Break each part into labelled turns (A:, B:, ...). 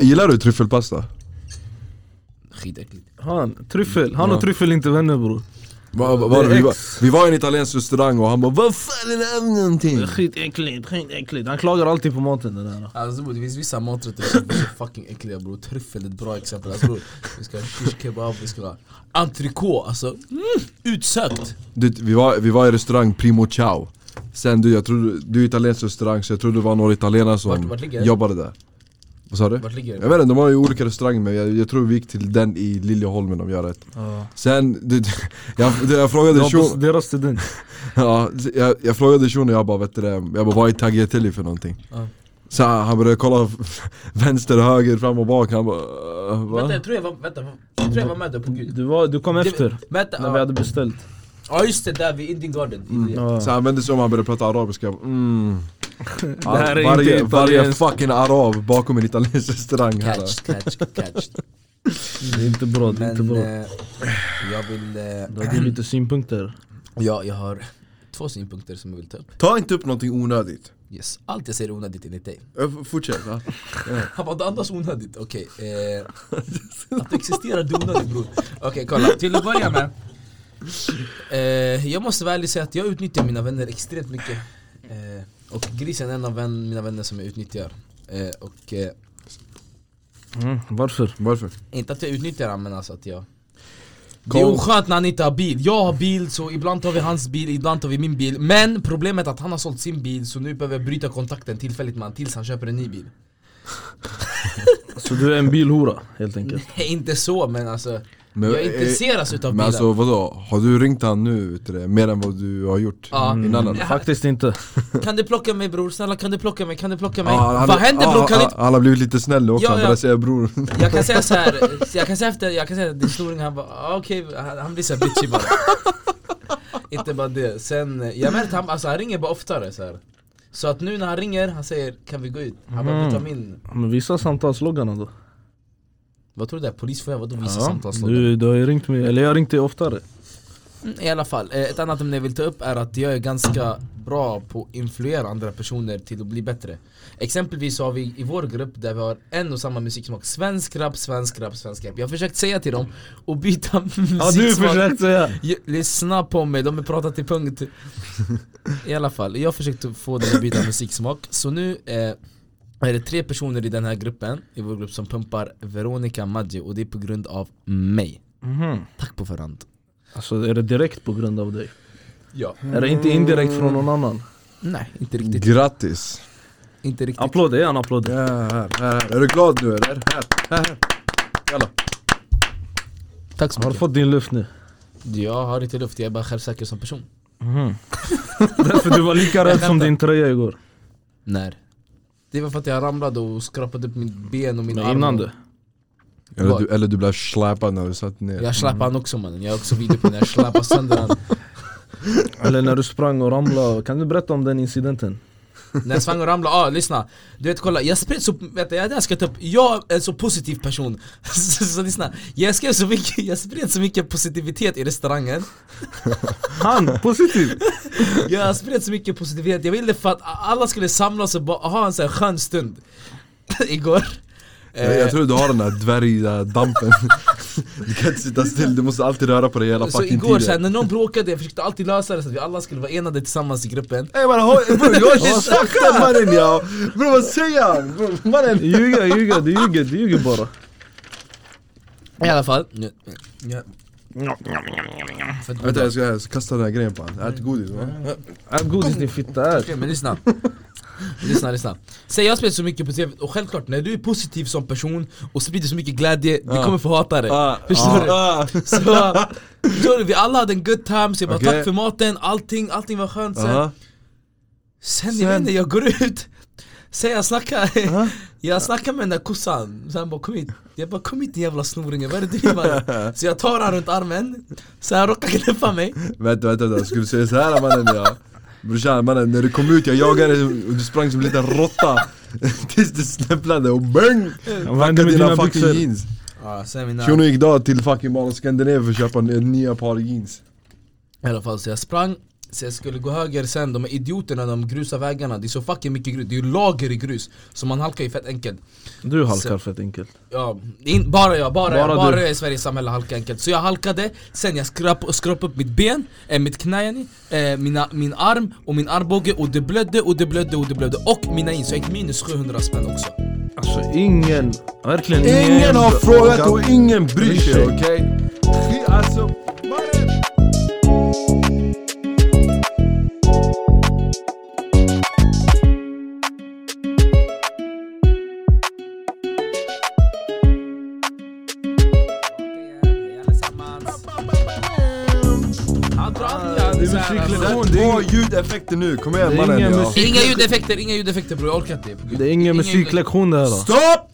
A: Gillar du tryffelpasta?
B: Skitäckligt.
C: Han, tryffel. Han och tryffel är inte vänner bror.
A: Va, va,
C: Det
A: var,
C: är
A: vi, var,
C: ex.
A: vi var i en italiensk restaurang och han bara 'Vad fan är det här för någonting?'
C: Skitäckligt, skitäckligt. Han klagar alltid på maten den där.
B: Alltså bror, det finns vissa maträtter som är så fucking äckliga bror. Tryffel är ett bra exempel. Alltså, bror, vi ska ha shish kebab, vi ska ha entrecote. Alltså, mm, utsökt!
A: Du, vi, var, vi var i restaurang Primo Ciao Sen du, jag tror du är italiensk restaurang så jag tror det var några italienare som
B: Vart- vart ligger det?
A: jobbade där Vad sa du?
B: Vart ligger det?
A: Jag vet inte, de har ju olika restauranger men jag, jag tror vi gick till den i Liljeholmen om jag har rätt Sen, du, jag, du, jag
C: Det
A: frågade
C: var på
A: Shun,
C: deras student.
A: ja, jag, jag frågade Shun och jag bara vet du det, jag bara vad är tagliatelle för någonting?
B: Ja.
A: Så han han började kolla vänster, höger, fram och bak, han bara "Äh,
B: Vänta,
A: va?
B: jag tror jag var, vänta, jag tror jag var med där på gud.
C: Du, var, du kom efter.
B: Det, vänta,
C: När vi
B: ja.
C: hade Mm. beställt.
B: ja just det, där vid Indian Garden.
C: Ja.
A: Så han vände sig om och han började prata arabiska, jag bara, mm.
C: Det här är
A: varje,
C: inte
A: varje
C: italienskt.
A: fucking arab bakom en italiensk restaurang här
B: Catch, catch, catch.
C: Det är inte bra, det är inte
B: Men
C: bra.
B: eh, jag vill...
C: Du
B: Eh,
C: hade lite synpunkter.
B: ja, jag har två synpunkter som jag vill ta upp.
A: Ta inte upp någonting onödigt
B: Yes. Allt jag säger är onödigt enligt dig.
A: Ö, f- Fortsätt va?
B: Han bara, du andas onödigt, okej eh, Att existera du onödigt bror Okej kolla, till att börja med eh, Jag måste vara ärlig och säga att jag utnyttjar mina vänner extremt mycket eh, Och grisen är en av vän, mina vänner som jag utnyttjar eh, Och eh,
C: Mm, varför?
A: Varför?
B: inte att jag utnyttjar han men alltså att jag det är
A: Kom.
B: oskönt när han inte har bil, jag har bil så ibland tar vi hans bil, ibland tar vi min bil Men problemet är att han har sålt sin bil så nu behöver jag bryta kontakten tillfälligt med han tills han köper en ny bil
C: Så du är en bilhora helt enkelt.
B: Nej, Inte så men alltså
A: Men,
B: Jag
A: eh,
B: intresseras utav
A: Men
B: bilar
A: alltså vadå? Har du ringt han nu vet du det, mer än vad du har gjort
B: Ja.
A: mm. innan? eller?
C: Faktiskt inte.
B: Kan du plocka mig bror? Snälla kan du plocka mig? Kan du plocka mig?
A: Ja, han-
B: Vad händer
A: ja,
B: bror? Kan du
A: han-
B: inte...
A: Han har blivit lite snäll nu också,
B: Ja,
A: han
B: ja.
A: börjar säga bror
B: Jag kan säga så här. jag kan säga efter, jag kan säga att din snoring han bara ah, okej, han, han blir såhär bitchy bara Inte bara det, sen, eh, jag märkte han, alltså, han ringer bara oftare så här. Så att nu när han ringer, han säger kan vi gå ut? Han bara
A: Mm.
B: vi tar min,
C: Men visa samtalsloggarna då.
B: vad tror du det är? Polis får jag, vadå visa
C: Ja,
B: samtalsloggar?
C: du, du har ju ringt mig, eller jag har ringt dig oftare.
B: Mm, I alla fall, eh, ett annat ämne jag vill ta upp är att jag är ganska bra på att influera andra personer till att bli bättre Exempelvis så har vi i vår grupp där vi har en och samma musiksmak Svensk rap, svensk rap, svensk rap Jag har försökt säga till dem att byta musiksmak
C: Ja du försökte säga.
B: Ja, Lyssna på mig, de har pratat till punkt I alla fall, jag försökte få dem att byta musiksmak Så nu eh, är det tre personer i den här gruppen, i vår grupp som pumpar Veronica Maggio och det är på grund av mig
C: Mhm.
B: Tack på förhand
C: Alltså är det direkt på grund av dig?
B: Ja
C: Är det inte indirekt från någon annan?
B: Nej, inte riktigt,
A: Grattis!
B: inte riktigt
C: Applåder, ge en applåd.
A: Ja, här, här, här. Är du glad nu eller? Här, här, här. Jalla.
B: Tack så
C: Har du
B: mycket
C: fått din luft nu?
B: Jag har inte luft, jag är bara självsäker som person
C: Därför du var lika rädd som
B: skämtar.
C: din tröja igår.
B: När? Det var för att jag ramlade och skrapade upp mitt ben och min
C: Men
B: arm
C: innan det.
A: Eller du, eller du blev släpad när du satt ner
B: Jag slappade han också mannen, jag har också video på när jag slappade sönder han
C: Eller när du sprang och ramlade. Kan du berätta om den incidenten?
B: När jag sprang och ramlade, ah, lyssna Du vet kolla, jag spred så, vänta jag jag ska ta upp, jag är en så positiv person så, så lyssna, jag skrev så mycket, jag spred så mycket positivitet i restaurangen
C: Han, positiv!
B: Jag spred så mycket positivitet, jag ville för att alla skulle samlas och bara ha en sån här skön stund Igår
A: jag, jag tror du har den där dvärgdampen Du kan inte sitta still, du måste alltid röra på dig hela
B: Så
A: fucking
B: igår
A: tiden
B: så här, när någon bråkade, jag försökte alltid lösa det så att vi alla skulle vara enade tillsammans i gruppen
A: Ey mannen, håll- bror jag har inte sagt det mannen ja! Bror vad säger han? Bror, Mannen!
C: Ljuga, ljuga, du ljuger, du ljuger bara.
B: I alla fall ja, ja, för att-
A: Vänta jag ska, jag ska kasta den här grejen på honom, ät godis va?
C: Ät Äh, godis din fitta, ät.
B: Okej, men lyssna. lyssna, lyssna. Säg jag spelar så mycket på tv, och självklart när du är positiv som person och sprider så mycket glädje, vi kommer få hata dig. Förstår du? Så, förstår du? Vi alla hade en good time, så jag bara
A: Okej.
B: tack för maten, allting, allting var skönt. Sen,
A: Aha.
B: sen,
A: Sen-
B: jag vet inte, jag går ut, sen jag snackar, jag snackar med den där kossan, så han bara kom hit. Jag bara kom hit din jävla snoringen, vad är det du vill mannen? Så jag tar han runt armen, så han råkar knäppa mig.
A: Vänta vänta vänta, skulle du säga såhär mannen ja? Brorsan mannen när du kom ut jag jagade dig och du sprang som en liten råtta Tills du snäpplade och bang!
C: Vad hände med dina
A: fucking
C: byxor?
A: jeans
B: Ja, sen mina...
A: Shuno gick då till fucking Mall of Scandinavia för att köpa nya par jeans
B: I alla fall så jag sprang, Så jag skulle gå höger sen, de är idioterna de grusar vägarna Det är så fucking mycket grus, det är ju lager i grus Så man halkar ju fett enkelt
C: Du halkar fett enkelt.
B: ja, in, Bara jag, bara, jag,
C: Bara
B: bara
C: du.
B: jag i Sveriges samhälle halkar enkelt Så jag halkade, sen jag skrap, skrap upp mitt ben, eh, mitt knä yani, eh, mina, min arm och min armbåge och det blödde och det blödde och det blödde Och mina jeans, så jag gick minus 700 spänn också
C: Alltså ingen, verkligen ingen.
A: Ingen har frågat och ingen bryr
C: Bryr
A: sig,
C: sig.
A: okej? Vi- Alltså, mannen!
B: Han drar alltid han
C: det är
B: så här,
C: musikligen.
B: alltså.
A: Det är inga ljudeffekter nu, kom igen
C: Det är
A: mannen
C: ingen
A: ja.
C: musik.
B: Inga ljudeffekter, inga ljudeffekter bror, jag orkar inte på Gud.
C: Det är ingen musiklektion det här. då.
A: Stopp!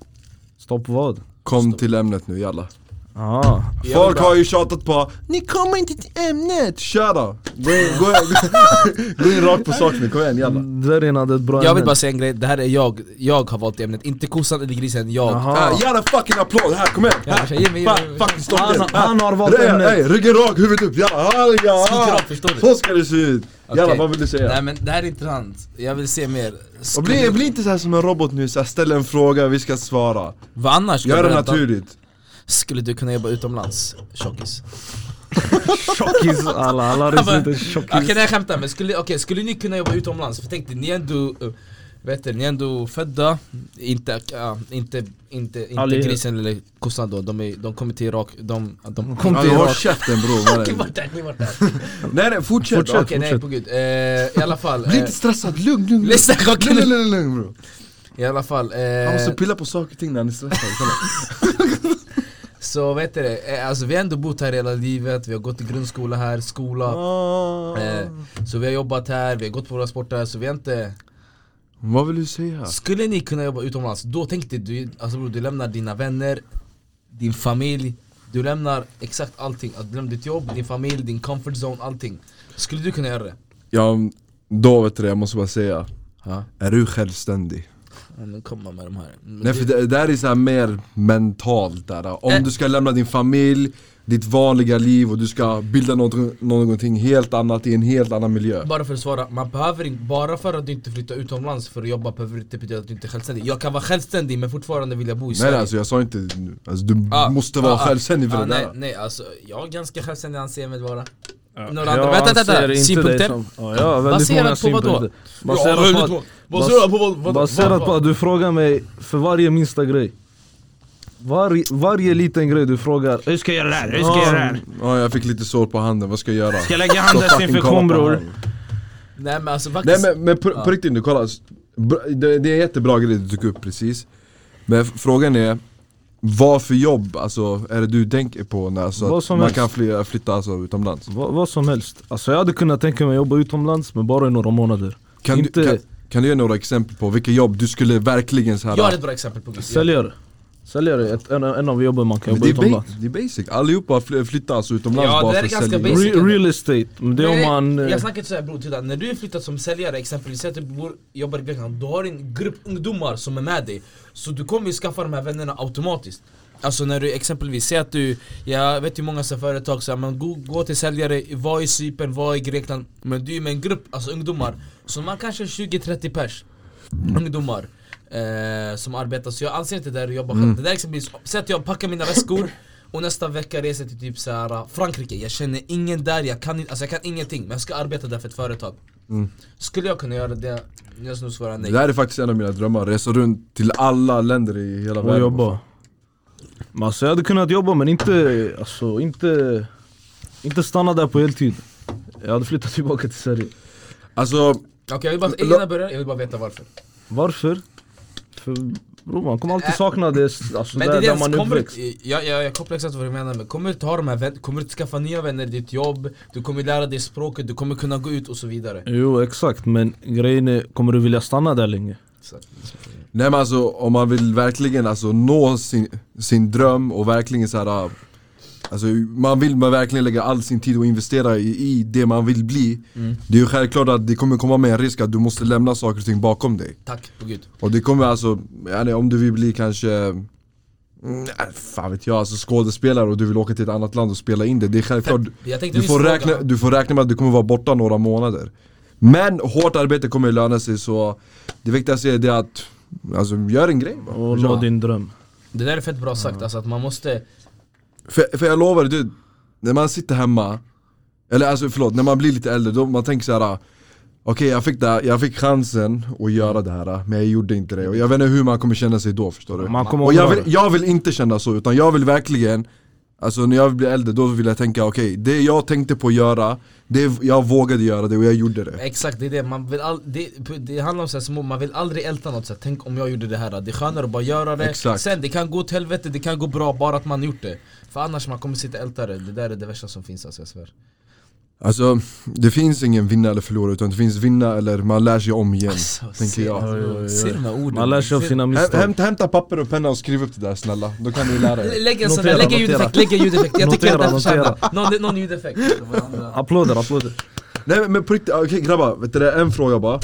C: Stopp vad?
A: Kom till ämnet nu, jalla.
C: Ah.
B: Jag vill
A: Folk
B: bara-
A: har ju tjatat på Ni kommer inte till ämnet! Kör då! Gå in, gå in, gå in rakt på sak nu, kom igen jalla.
C: Det där är en hade ett bra
B: Jag
C: ämne.
B: vill bara säga en grej, det här är jag, jag har valt ämnet, inte kossan eller grisen, jag
C: Jaha.
A: Ah, Gärna fucking applåd här, kom igen!
B: Ja, tjej, ge mig-
A: Fa- Fucking stopp
C: Han-
A: det.
C: han har valt
A: Re-
C: ämnet.
A: ey, Ryggen rak, huvudet upp, jalla! Ah, ja.
B: Skriker upp, förstår du?
A: Så ska det se ut! Jalla,
B: Okej.
A: vad vill du säga?
B: Nej men det här är intressant, jag vill se mer
A: Och bli, bli inte så här som en robot nu, så här, ställ en fråga, vi ska svara.
B: Vad annars? ska
A: Gör
B: jag
A: det
B: berätta?
A: naturligt.
B: Skulle du kunna jobba utomlands, tjockis?
C: Tjockis, alla, alla
B: Okej
C: recensioner tjockis.
B: nej jag skämtar, men skulle, okej, skulle ni kunna jobba utomlands? För tänk dig, ni är ändå, eh, vet du, ni är ändå födda, inte, ja, inte, inte, inte
C: Ali-
B: grisen eller kossan då, de, är, de kommer till Irak, de... de
C: Kom
A: Ja,
C: till
A: håll
C: Irak.
A: käften bror.
B: Ni
A: mannen.
B: vart där, ni vart där!
A: Nej nej, fortsätt.
B: Okej
C: Fortsätt.
B: nej på gud, eh, i alla fall...
A: Bli
B: Eh,
A: inte stressad, lugn, lugn. lugn.
B: lyssna, Eh. okej,
A: Lugn, lugn, lugn, lugn bror.
B: I alla fall, eh,
A: Han måste pilla på saker och ting när han är stressad. kolla.
B: så vet du det, eh, alltså vi har ändå bott här hela livet, vi har gått i grundskola här, skola,
A: Ah.
B: eh, så vi har jobbat här, vi har gått på våra sporter här, så vi har inte
A: Vad vill du säga?
B: Skulle ni kunna jobba utomlands, då tänkte du, alltså bror, du lämnar dina vänner, din familj, du lämnar exakt allting, att du lämnar ditt jobb, din familj, din comfort zone, allting Skulle du kunna göra det?
A: Ja, då vet du det, jag måste bara säga.
B: Ja,
A: Är du självständig?
B: Mm. men komma med de här Men
A: Nej för det, det här är så här mer mentalt där. Om
B: Eh.
A: du ska lämna din familj, ditt vanliga liv och du ska bilda något, någonting helt annat i en helt annan miljö.
B: Bara för att svara, man behöver inte, bara för att du inte flyttar utomlands för att jobba behöver inte betyda att du inte är självständig Jag kan vara självständig men fortfarande vill jag bo i
A: Nej
B: Sverige
A: alltså jag sa inte, alltså, du
B: Ah,
A: måste vara
B: ah, ah.
A: självständig för
B: Ah,
A: det
B: nej,
A: där.
B: Nej alltså, jag är ganska självständig anser mig vara Några andra,
C: Jag
B: vänta vänta,
C: anser
B: vänta,
C: inte dig
B: synpunkter?
C: som- Ja, jag har väldigt
B: Baserat
C: många
B: på vad då?
C: synpunkter.
B: Ja,
C: Baserat
B: väldigt
C: på
B: många.
C: att-
B: Baserat på vad- vad- vad-
C: Baserat på
B: vad?
C: att du frågar mig för varje minsta grej. Varje, varje liten grej du frågar. eh, Hur ska jag göra det här? Hur ska jag göra det här?
A: Ja, jag fick lite sår på handen, vad ska jag göra?
C: Ska jag lägga
A: Så fucking kolla på
C: handelsinfektion bror?
A: handen.
B: Nej men alltså
A: Nej
B: faktiskt
A: men, men på,
B: Ja.
A: på riktigt nu, kolla. Bra- Det, det är en jättebra grej du tog upp precis. Men f- frågan är, vad för jobb alltså, är det du tänker på när alltså,
C: Vad
A: att
C: som
A: man
C: helst.
A: kan fly, flytta alltså, utomlands?
C: Va, vad som helst. Alltså jag hade kunnat tänka mig att jobba utomlands men bara i några månader.
A: Kan,
C: Inte
A: du, kan, kan du ge några exempel på vilka jobb du skulle verkligen så här,
B: Jag har ett bra exempel på det
C: säljare. Säljare är ett, en, en av jobben man kan
A: men
C: jobba
A: det, är ba-
C: utomlands.
A: det är basic, allihopa fly, flyttar alltså utomlands
B: Ja, det
A: bara
B: är
A: för att
B: ganska
A: sälja.
B: basic.
C: Re, real estate, men det är om
B: Nej,
C: man... eh,
B: Jag snackar inte såhär bror, titta när du är flyttat som säljare exempelvis, säg att du bor, jobbar i Grekland Du har en grupp ungdomar som är med dig Så du kommer ju skaffa de här vännerna automatiskt Alltså när du exempelvis, säg att du, jag vet ju många så här företag så här, man gå, gå till säljare, var i Cypern, var i Grekland Men du är ju med en grupp, alltså ungdomar, som man kanske är 20-30 pers Ungdomar eh, som arbetar, så jag anser inte det där att jobba
C: Mm.
B: själv Det där exempelvis, säg att jag packar mina väskor och nästa vecka reser till typ så här, Frankrike, jag känner ingen där, jag kan, inte- alltså jag kan ingenting men jag ska arbeta där för ett företag
C: Mm.
B: Skulle jag kunna göra det? Jag skulle nog svara
A: Det
B: nej
A: där är faktiskt en av mina drömmar, resa runt till alla länder i hela
C: Och
A: världen.
C: jobba. Men alltså jag hade kunnat jobba men inte, alltså inte, inte stanna där på heltid. Jag hade flyttat tillbaka till Sverige.
A: Alltså,
B: Okej jag vill bara, innan jag börjar, jag vill bara veta varför
C: Varför? För bror man kommer alltid sakna det, s- alltså
B: Äh. Men
C: där,
B: det,
C: där
B: det,
C: man
B: kommer,
C: uppväxt.
B: du- jag, jag, jag kopplar exakt vad du menar men kommer du inte ha de här vän, kommer du inte skaffa nya vänner i ditt jobb Du kommer lära dig språket, du kommer kunna gå ut och så vidare
C: Jo exakt men grejen är, kommer du vilja stanna där länge?
B: så,
A: Nej men alltså om man vill verkligen alltså, nå sin, sin dröm och verkligen så här. äh, Alltså man vill man verkligen lägga all sin tid och investera i, i det man vill bli Det är ju självklart att det kommer komma med en risk att du måste lämna saker och ting bakom dig
B: Tack, på gud
A: Och det kommer alltså, ja, nej, om du vill bli kanske Mm, äh, fan vet jag, alltså skådespelare och du vill åka till ett annat land och spela in det. Det är självklart,
B: Jag tänkte
A: du
B: just
A: får,
B: fråga.
A: räkna, du får räkna med att du kommer vara borta några månader. Men hårt arbete kommer ju löna sig så det viktigaste är det att, alltså gör en grej bara.
C: Och nå din dröm.
B: Det där är fett bra sagt alltså, att man måste
A: För, för jag lovar du, när man sitter hemma, eller alltså förlåt, när man blir lite äldre, då man tänker så här. Okej jag fick, det här, jag fick chansen att göra det här, men jag gjorde inte det. Och jag vet inte hur man kommer känna sig då förstår du.
C: Man kommer
A: Och jag
C: ångra
A: vill,
C: det.
A: jag vill inte känna så, utan jag vill verkligen Alltså när jag blir äldre, då vill jag tänka okej, det jag tänkte på att göra, det, jag vågade göra det och jag gjorde det
B: Exakt, det är det. Man vill all, det, det handlar om så här små, man vill aldrig älta något så här, tänk om jag gjorde det här. Det är skönare att bara göra det.
A: Exakt.
B: Sen, det kan gå åt helvete, det kan gå bra, bara att man gjort det. För annars man kommer sitta och älta det. Det där är det värsta som finns alltså, jag svär.
A: Alltså, det finns ingen vinna eller förlora, utan det finns vinna eller man lär sig om igen
C: Alltså,
A: Tänker
B: ser,
A: jag
C: oj, oj.
B: Ser du de här orden?
C: Man lär sig av
B: Ser-
C: sina
A: Häm-
C: misstag.
A: Hämta, hämta papper och penna och skriv upp det där snälla, då kan ni lära er
B: Lägg en sån där,
C: Notera,
B: lägg en ljudeffekt, lägg en ljudeffekt. Jag tycker
C: Notera,
B: att den förtjänar någon, någon ljudeffekt.
C: Applåder, applåder.
A: Nej men- men på riktigt, okej grabbar, vet du det, en fråga bara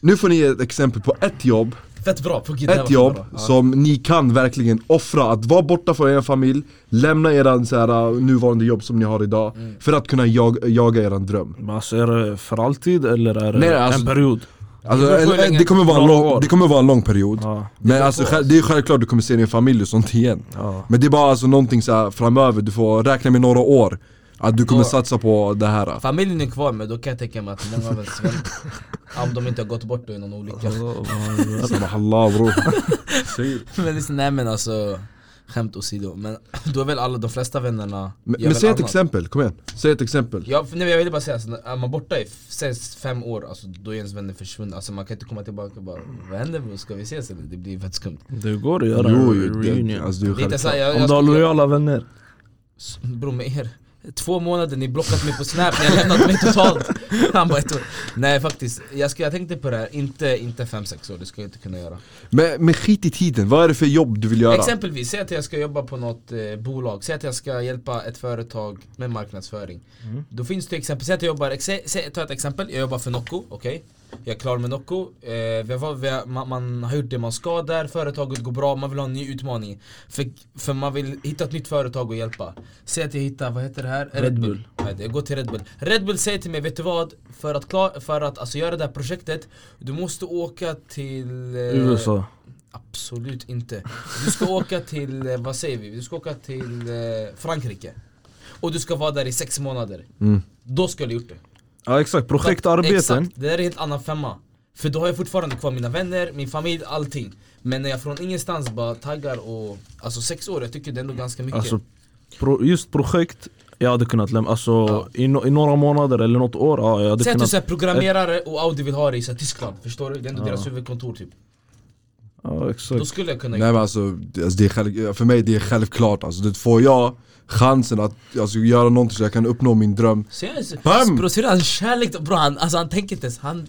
A: Nu får ni ge ett exempel på ett jobb,
B: Fett bra, på gud, det här
A: ett
B: var
A: jobb
B: bra. Ja.
A: som ni kan verkligen offra Att vara borta från er familj, lämna eran så här, äh, nuvarande jobb som ni har idag För att kunna jag, jaga eran dröm
C: Men Alltså är det för alltid eller är det
A: Nej, alltså-
C: en period?
A: Alltså,
B: beror på hur
A: en, en,
B: länge-
A: det, kommer vara en
C: Några
A: lång,
C: år.
A: det kommer vara en lång period
C: Ja,
A: Men alltså, själv- det är självklart du kommer se din familj och sånt igen
C: ja.
A: Men det är bara alltså någonting så här framöver, du får räkna med några år Att du kommer
B: Några.
A: satsa på det här
B: Familjen är kvar men då kan jag tänka mig att många av ens vänner, om de inte har gått bort då i någon olycka.
A: Subhanallah Alltså, bror
B: Men liksom, nej men alltså Skämt åsido, men då är väl alla, de flesta vännerna gör
A: Men, men
B: väl
A: säg ett
B: annat.
A: exempel, kom igen, säg ett exempel
B: Ja, för, nej, men jag vill bara säga, alltså, är man borta i f- sen fem år, alltså, då är ens vänner försvunna Alltså man kan inte komma tillbaka och bara Vad händer bror, ska vi ses eller? Det blir fett skumt
C: Det går att göra
A: Jo,
C: en
A: ju, det,
C: reunion.
A: alltså, det är
B: Det är inte
A: självklart.
B: så här, jag,
C: Om
B: jag
C: du har
B: skulle-
C: lojala vänner.
B: S- Bror med er, två månader, ni blockat mig på snap, ni har lämnat mig totalt Han bara ett år Nej faktiskt, jag, ska, jag tänkte på det här, inte, inte fem, sex år, det ska jag inte kunna göra
A: men, men skit i tiden, vad är det för jobb du vill göra?
B: Exempelvis, säg att jag ska jobba på något eh, bolag, säg att jag ska hjälpa ett företag med marknadsföring. Då finns det exempel, säg att jag jobbar, säg, säg, ta ett exempel, jag jobbar för Nocco, okej? Jag är klar med Nocco, eh, vi har, vi har, man, man har gjort det man ska där, företaget går bra, man vill ha en ny utmaning. För, för man vill hitta ett nytt företag och hjälpa. Säg att jag hittar, vad heter det här? Red,
C: Bull.
B: Nej, jag går till Red Bull. Red Bull säger till mig, vet du vad? För att, klar, för att alltså, göra det här projektet, du måste åka till... eh,
C: USA.
B: Absolut inte. Du ska åka till, eh, vad säger vi? Du ska åka till eh, Frankrike. Och du ska vara där i sex månader.
C: Mm.
B: Då skulle jag gjort det.
C: Ja exakt,
B: För att-
C: projektarbeten.
B: Exakt, det där är en helt annan femma. För då har jag fortfarande kvar mina vänner, min familj, allting. Men när jag från ingenstans bara taggar och, alltså sex år, jag tycker det är ändå ganska mycket.
C: Alltså, pro, just projekt, jag hade kunnat lämna. Alltså i, no, i några månader eller något år, ja jag hade
B: Säg att du
C: kunnat.
B: är programmerare och Audi vill ha dig i så här Tyskland, förstår du? Det är ändå deras huvudkontor typ.
C: Ja
B: Då
C: exakt.
B: skulle jag kunna
A: Nej men alltså, det- alltså det är själv, för mig det är självklart alltså, det får jag chansen att alltså, göra någonting så jag kan uppnå min dröm Bam!
B: Bam! Ser du hans kärlek? Bro, han, alltså, han tänker inte ens, han, han,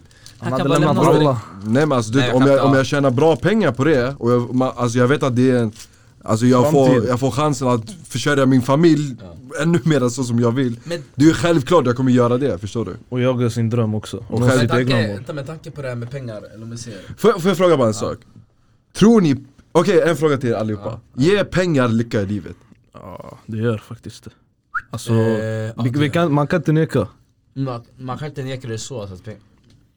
B: kan
C: Han hade
B: bara
C: lämnat
B: lämna oss direkt.
C: alla.
A: Nej men alltså, du,
B: Nej,
A: vet,
B: jag
A: om, jag,
B: fattar.
A: om jag tjänar bra pengar på det, och jag, ma, alltså, jag vet att det är en Alltså jag får,
C: Framtid.
A: jag får chansen att försörja min familj ännu mer så som jag vill
B: Men-
A: Det är ju självklart jag kommer göra det, förstår du?
C: Och jaga sin dröm också. Och nå
A: själv-
C: sitt
B: Med
C: egna
B: tanke,
C: mål.
B: vänta, med tanke på det här med pengar, eller om jag säger
A: Får, jag- får jag fråga bara en sak? Tror ni, okej en fråga till er allihopa Ge pengar lycka i livet
C: Ja det gör faktiskt det. Alltså,
B: Eh, ja,
C: vi,
B: det
C: vi
B: gör.
C: kan, man kan inte neka.
B: man, man kan inte neka det så alltså, att pengar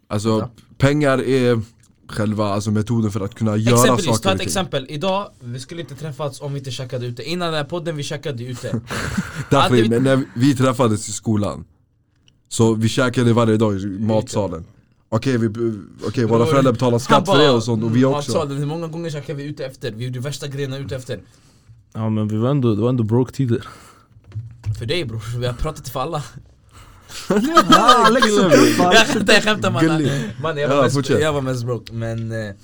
A: Alltså
B: Ja.
A: pengar är själva alltså, metoden för att kunna göra
B: Exempelvis,
A: saker
B: ta
A: och
B: ett
A: ting.
B: exempel, idag, vi skulle inte träffats om vi inte käkade ute Innan den här podden, vi käkade ute
A: Därför,
B: Hade vi-
A: när- när vi träffades i skolan Så vi käkade varje dag i matsalen Okej, vi, okej våra föräldrar betalar
B: Han
A: skatt för
B: bara,
A: det och sånt och vi
B: "Mm,
A: också
B: matsalen, Hur många gånger käkade vi ute efter? Vi gjorde värsta grejerna ute efter
C: Ja men vi var ändå, det var ändå broke tider.
B: För dig bror, vi har pratat för alla
C: Ja, liksom,
B: Jag skämtar, jag skämtar mannen
A: Gullig.
B: man, jag,
A: Ja,
B: var mest-
A: fortsätt.
B: jag var mest broke, men... eh,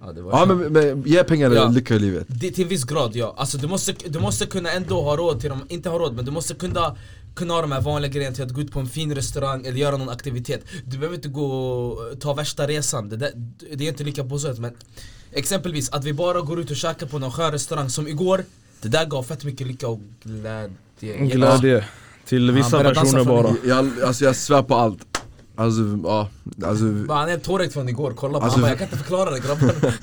B: Ja, det var
A: Ja men, men ge pengar
B: Ja.
A: lycka i livet
B: Det, till viss grad ja, alltså du måste, du måste kunna ändå ha råd till dem, inte ha råd men du måste kunna, kunna ha de här vanliga grejerna till att gå ut på en fin restaurang eller göra någon aktivitet Du behöver inte gå och ta värsta resan, det, där, det är inte lika påsett men Exempelvis att vi bara går ut och käkar på någon skön restaurang som igår Det där gav fett mycket lycka och glädje
C: Glädje. Till vissa
B: började dansa
C: personer
B: från-
C: bara.
A: jag, Alltså jag svär på allt Alltså, ja, alltså,
B: Men Han är Torek från igår, kolla på
A: Alltså-
B: han bara, jag kan inte förklara det grabbar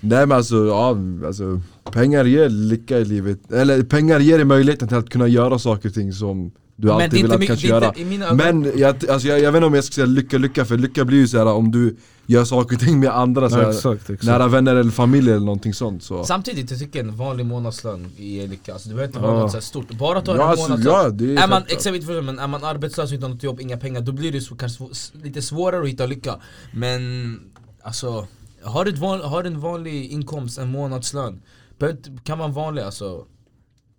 A: nej men alltså, ja, alltså Pengar ger lycka i livet, eller pengar ger dig möjligheten till att kunna göra saker och ting som du
B: det är
A: alltid
B: inte
A: velat
B: mycket-
A: kanske
B: det är inte-
A: göra
B: i mina ögon-
A: Men jag, alltså, jag, jag vet inte om jag ska säga lycka, lycka för lycka blir ju såhär om du gör saker och ting med andra så
C: Ja,
A: här,
C: exakt, exakt.
A: Nära vänner eller familj eller någonting sånt så
B: Samtidigt, jag tycker en vanlig månadslön ger lycka, alltså, det behöver inte vara
C: Ja.
B: något så här stort Bara ta
A: Ja,
B: en
A: alltså,
B: månadslön
A: ja, det är
B: är, man,
A: självklart.
B: exakt, men är man arbetslös utan något jobb, inga pengar, då blir det så, kanske svå- s- lite svårare att hitta lycka Men alltså, har du, ett van, har du en vanlig inkomst, en månadslön behöver inte- kan vara en vanlig alltså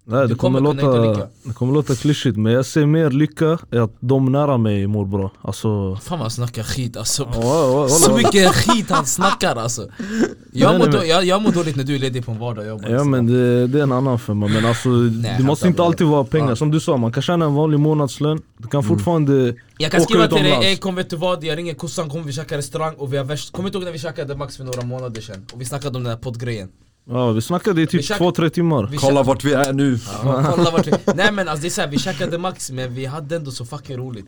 C: Nej,
B: Du
C: det, kommer
B: kommer kunna hitta
C: låta,
B: lycka.
C: det kommer låta klyschigt men jag ser mer lycka i att de nära mig mår bra. Alltså...
B: Fan vad han snackar skit alltså
C: ja, ja,
B: Så
C: ja.
B: mycket skit han snackar alltså
C: Nej,
B: Jag mår,
C: nej,
B: då,
C: men-
B: jag, jag mår dåligt när du är ledig på en vardag jag bara,
C: Ja
B: alltså.
C: men det, det är en annan femma men alltså det
B: jag fattar
C: måste inte
B: vad
C: alltid vara pengar.
B: Ja. Mm.
C: Som du sa, man kan tjäna en vanlig månadslön, du kan fortfarande
B: Jag kan
C: åka
B: skriva till dig,
C: utomlands.
B: ey kom vet du vad, jag ringer kossan, kom vi käkar restaurang och vi har värst Kommer du ihåg när vi käkade Max för några månader sedan? Och vi snackade om den här poddgrejen
C: Ja vi snackade i
B: Vi
C: typ
B: käk-
C: 2-3 timmar.
B: Vi
A: Kolla vart vi är nu
B: Ja, kolla vart vi... Nej men alltså det är såhär, vi käkade Max men vi hade ändå så fucking roligt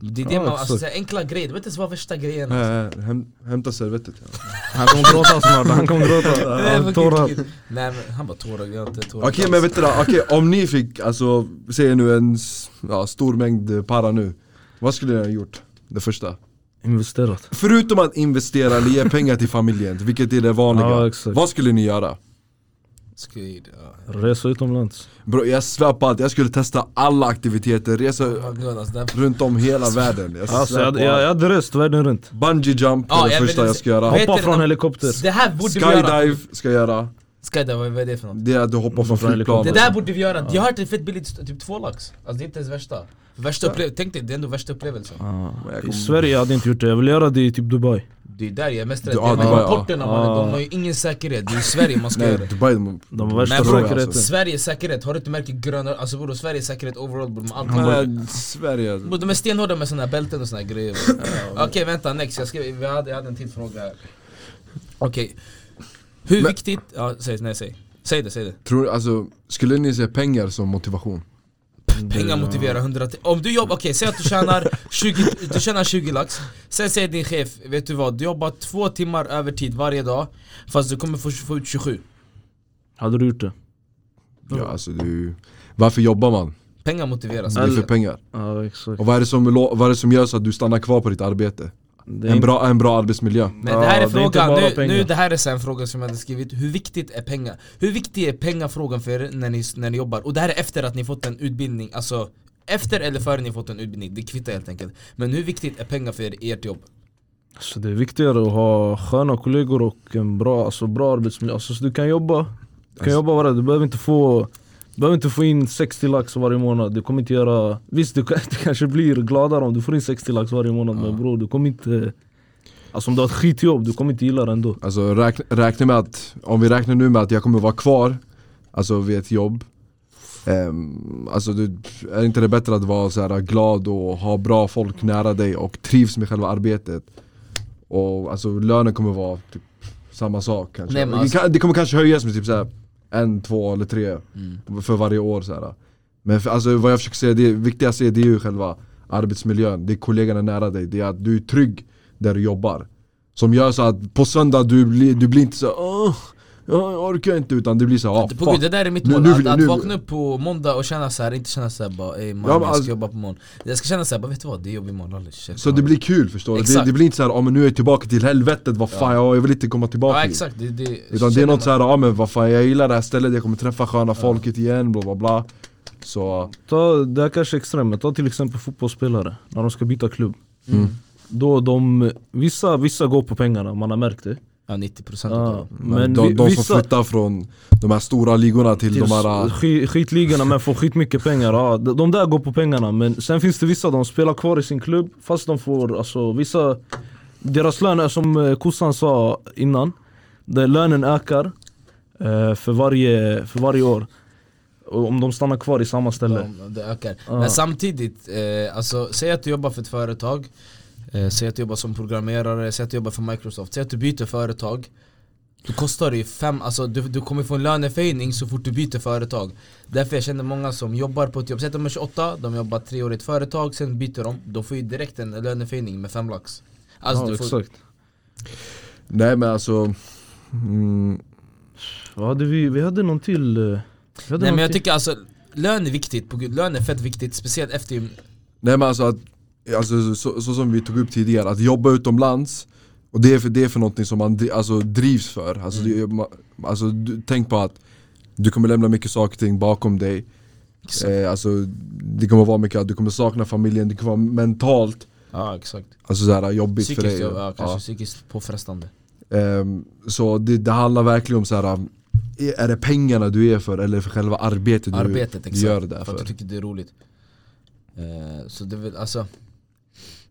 B: Det är det
C: Ja,
B: man, alltså
C: exakt.
B: så här, enkla grejer, det vet inte ens vad värsta grejen är
A: Eh, häm, Hämta servettet ja.
C: Han kommer gråta snart, han kommer gråta.
B: Nej,
C: Han
B: fucking
C: tårar.
B: kul. Nej men han bara tårar, jag har inte tårar
A: Okej men vet du då, okej, om ni fick, alltså, säg nu en s- ja, stor mängd eh, para nu Vad skulle ni ha gjort? Det första?
C: Investerat.
A: Förutom att investera eller ge pengar till familjen, vilket är det vanliga
C: Ja, exakt.
A: Vad skulle ni göra?
B: Skrid, ja.
C: Resa utomlands.
A: Bro, jag svär på att jag skulle testa alla aktiviteter, resa
B: Vad glad, alltså, den-
A: runt om hela världen Jag
C: Alltså
A: svär
C: jag,
A: på
C: jag, jag
A: allt.
C: hade rest världen runt.
A: Bungee jump är
B: Ja,
A: det
B: jag
A: första
B: vill-
A: jag ska göra
B: Vet
C: Hoppa
B: du
C: från
B: någon-
C: helikopter.
B: Det här borde vi göra!
A: Skydive ska jag göra,
B: Skydive, vad är det för något?
A: det är att du hoppar från
C: Från helikopter.
A: flygplanet
B: Det där borde vi göra, jag har hört en fett billigt, typ två lax Alltså det är inte ens värsta Värsta upplevelsen, tänk dig det är ändå värsta upplevelsen
A: Men jag
C: I
A: kommer-
C: Sverige jag hade inte gjort det, jag vill göra det i typ Dubai.
B: Det är där jag är mest rädd,
A: Ja,
B: det
A: det
B: är
A: var jag.
B: rapporterna mannen, de har ju ingen säkerhet Det är i Sverige man ska göra
A: Nej,
B: det
A: Dubai, alltså.
C: De har värsta
B: Men bror,
C: säkerheten.
B: Sveriges säkerhet, har du inte märkt hur gröna, alltså bror Sveriges säkerhet overall borde man alltid ha
C: Mm.
A: Men Sverige
B: Bror, De är stenhårda med såna här bälten och såna här grejer Okej vänta, next, jag, skrev, vi hade, jag hade en till fråga här Okej, hur viktigt, ja säg, nej säg Säg det, säg det.
A: Tror, alltså, skulle ni se pengar som motivation?
B: Pengar motiverar 100 Om du jobbar, okej säg att du tjänar 20, du tjänar 20 lax Sen säger din chef, vet du vad? Du jobbar två timmar övertid varje dag Fast du kommer få, få ut 27
C: Hade du gjort det? Mm.
A: Ja, alltså, det är ju, varför jobbar man?
B: Pengar motiveras
A: Det är
C: Alltså-
A: för pengar.
C: Ja exakt.
A: Och vad är, det som, lo- vad är det som gör så att du stannar kvar på ditt arbete?
C: Det är
A: En
C: inte-
A: bra, en bra arbetsmiljö.
B: Men det här är
C: Ja, det är inte
B: frågan,
C: bara
B: nu,
C: pengar.
B: nu det här är så här en fråga som jag hade skrivit Hur viktigt är pengar? Hur viktig är pengafrågan för er när ni, när ni jobbar? Och det här är efter att ni fått en utbildning, alltså efter eller före ni fått en utbildning, det kvittar helt enkelt Men hur viktigt är pengar för er, i ert jobb?
C: Alltså det är viktigare att ha sköna kollegor och en bra, alltså bra arbetsmiljö. Alltså så du kan jobba, du
A: Alltså-
C: kan jobba varje Du behöver inte få du behöver inte få in 60 lax varje månad, du kommer inte göra... Visst du, kan- du kanske blir gladare om du får in 60 lax varje månad men bror du kommer inte... Alltså om du har ett skitjobb, du kommer inte gilla det ändå
A: Alltså räkna, räkna med att, om vi räknar nu med att jag kommer vara kvar, alltså vid ett jobb. Um, alltså det, är inte det bättre att vara så här glad och ha bra folk nära dig och trivs med själva arbetet? Och alltså lönen kommer vara typ samma sak kanske.
B: Nej, men alltså-
A: det, kan, det kommer kanske höjas med typ så här en, två eller tre för varje år så här. Men för, alltså, vad jag försöker säga, det viktigaste är det är ju själva arbetsmiljön, det är kollegorna nära dig, det är att du är trygg där du jobbar. Som gör så att på söndag du blir, du blir inte så åh, jag orkar inte utan det blir så här,
B: På
A: ah,
B: gud, det
A: fuck.
B: där är mitt
A: Nu-
B: mål,
A: nu
B: att,
A: vill-
B: att
A: nu-
B: vakna upp på måndag och känna såhär, inte känna såhär bara ey man,
A: Ja, men
B: jag
A: alltså-
B: ska jobba på imorgon Jag ska känna såhär, bara vet du vad, det är jobb imorgon, aldrig, shit,
A: Så det blir kul förstår du, det,
B: Exakt.
A: det blir inte så här, ah, men nu är jag tillbaka till helvetet, vad fan, ja. jag vill inte komma tillbaka
B: Ja
A: hit."
B: exakt, det, det,
A: Utan det är
B: känner
A: något
B: man.
A: såhär, ja ah, men vad fan, jag gillar det här stället, jag kommer träffa sköna folket igen, bla bla bla Så,
C: Ta, det här kanske är extremt, men ta till exempel fotbollsspelare när de ska byta klubb
A: Mm.
C: Då de, vissa, vissa går på pengarna, man har märkt det
B: Ja 90% av
C: ja,
B: dem
A: men
C: Men
A: de,
C: vi-
A: de som
C: vissa,
A: flyttar från de här stora ligorna till, de här
C: s- ski- eh, skitligorna men får skitmycket pengar. Ja, de, de där går på pengarna men sen finns det vissa de spelar kvar i sin klubb fast de får, alltså vissa Deras lön är som eh, kossan sa innan, där lönen ökar eh, för, varje, för varje år. Och Om de stannar kvar i samma ställe.
B: De, det ökar.
C: Ja.
B: Men samtidigt, eh, alltså, säg att du jobbar för ett företag, eh, säg att du jobbar som programmerare, säg att du jobbar för Microsoft, säg att du byter företag Då kostar det ju fem, alltså du, du kommer få en löneförhöjning så fort du byter företag Därför jag känner många som jobbar på ett jobb, säg att de är 28, de jobbar tre år i ett företag, sen byter de De får ju direkt en löneförhöjning med fem lax Alltså
C: ja,
B: du får,
C: exakt.
A: Nej men alltså, mm,
C: Vad hade vi? Vi hade någon till... eh, Vi hade
B: Nej
C: någon
B: men jag
C: till.
B: tycker alltså, lön är viktigt, på gud, lön är fett viktigt, speciellt efter gym-
A: nej men alltså att, alltså, så, så som vi tog upp tidigare, att jobba utomlands och det är för, det är för någonting som man dri- alltså, drivs för. Alltså,
B: Mm.
A: det, man, alltså du, tänk på att du kommer lämna mycket saker och ting bakom dig.
B: Exakt.
A: Eh, alltså, det kommer vara mycket, att du kommer sakna familjen, det kommer vara mentalt
B: Ja exakt
A: alltså, såhär, jobbigt för
B: Psykiskt,
A: dig.
B: ja, ja, kanske
A: Ja.
B: psykiskt påfrestande
A: Ehm, så det, det handlar verkligen om så här. um, är- Är det pengarna du är för eller för själva arbetet du,
B: Arbetet
A: du
B: exakt,
A: gör det
B: för.
A: där
B: att du
A: för?
B: tycker det är roligt Eh, Så det är väl, alltså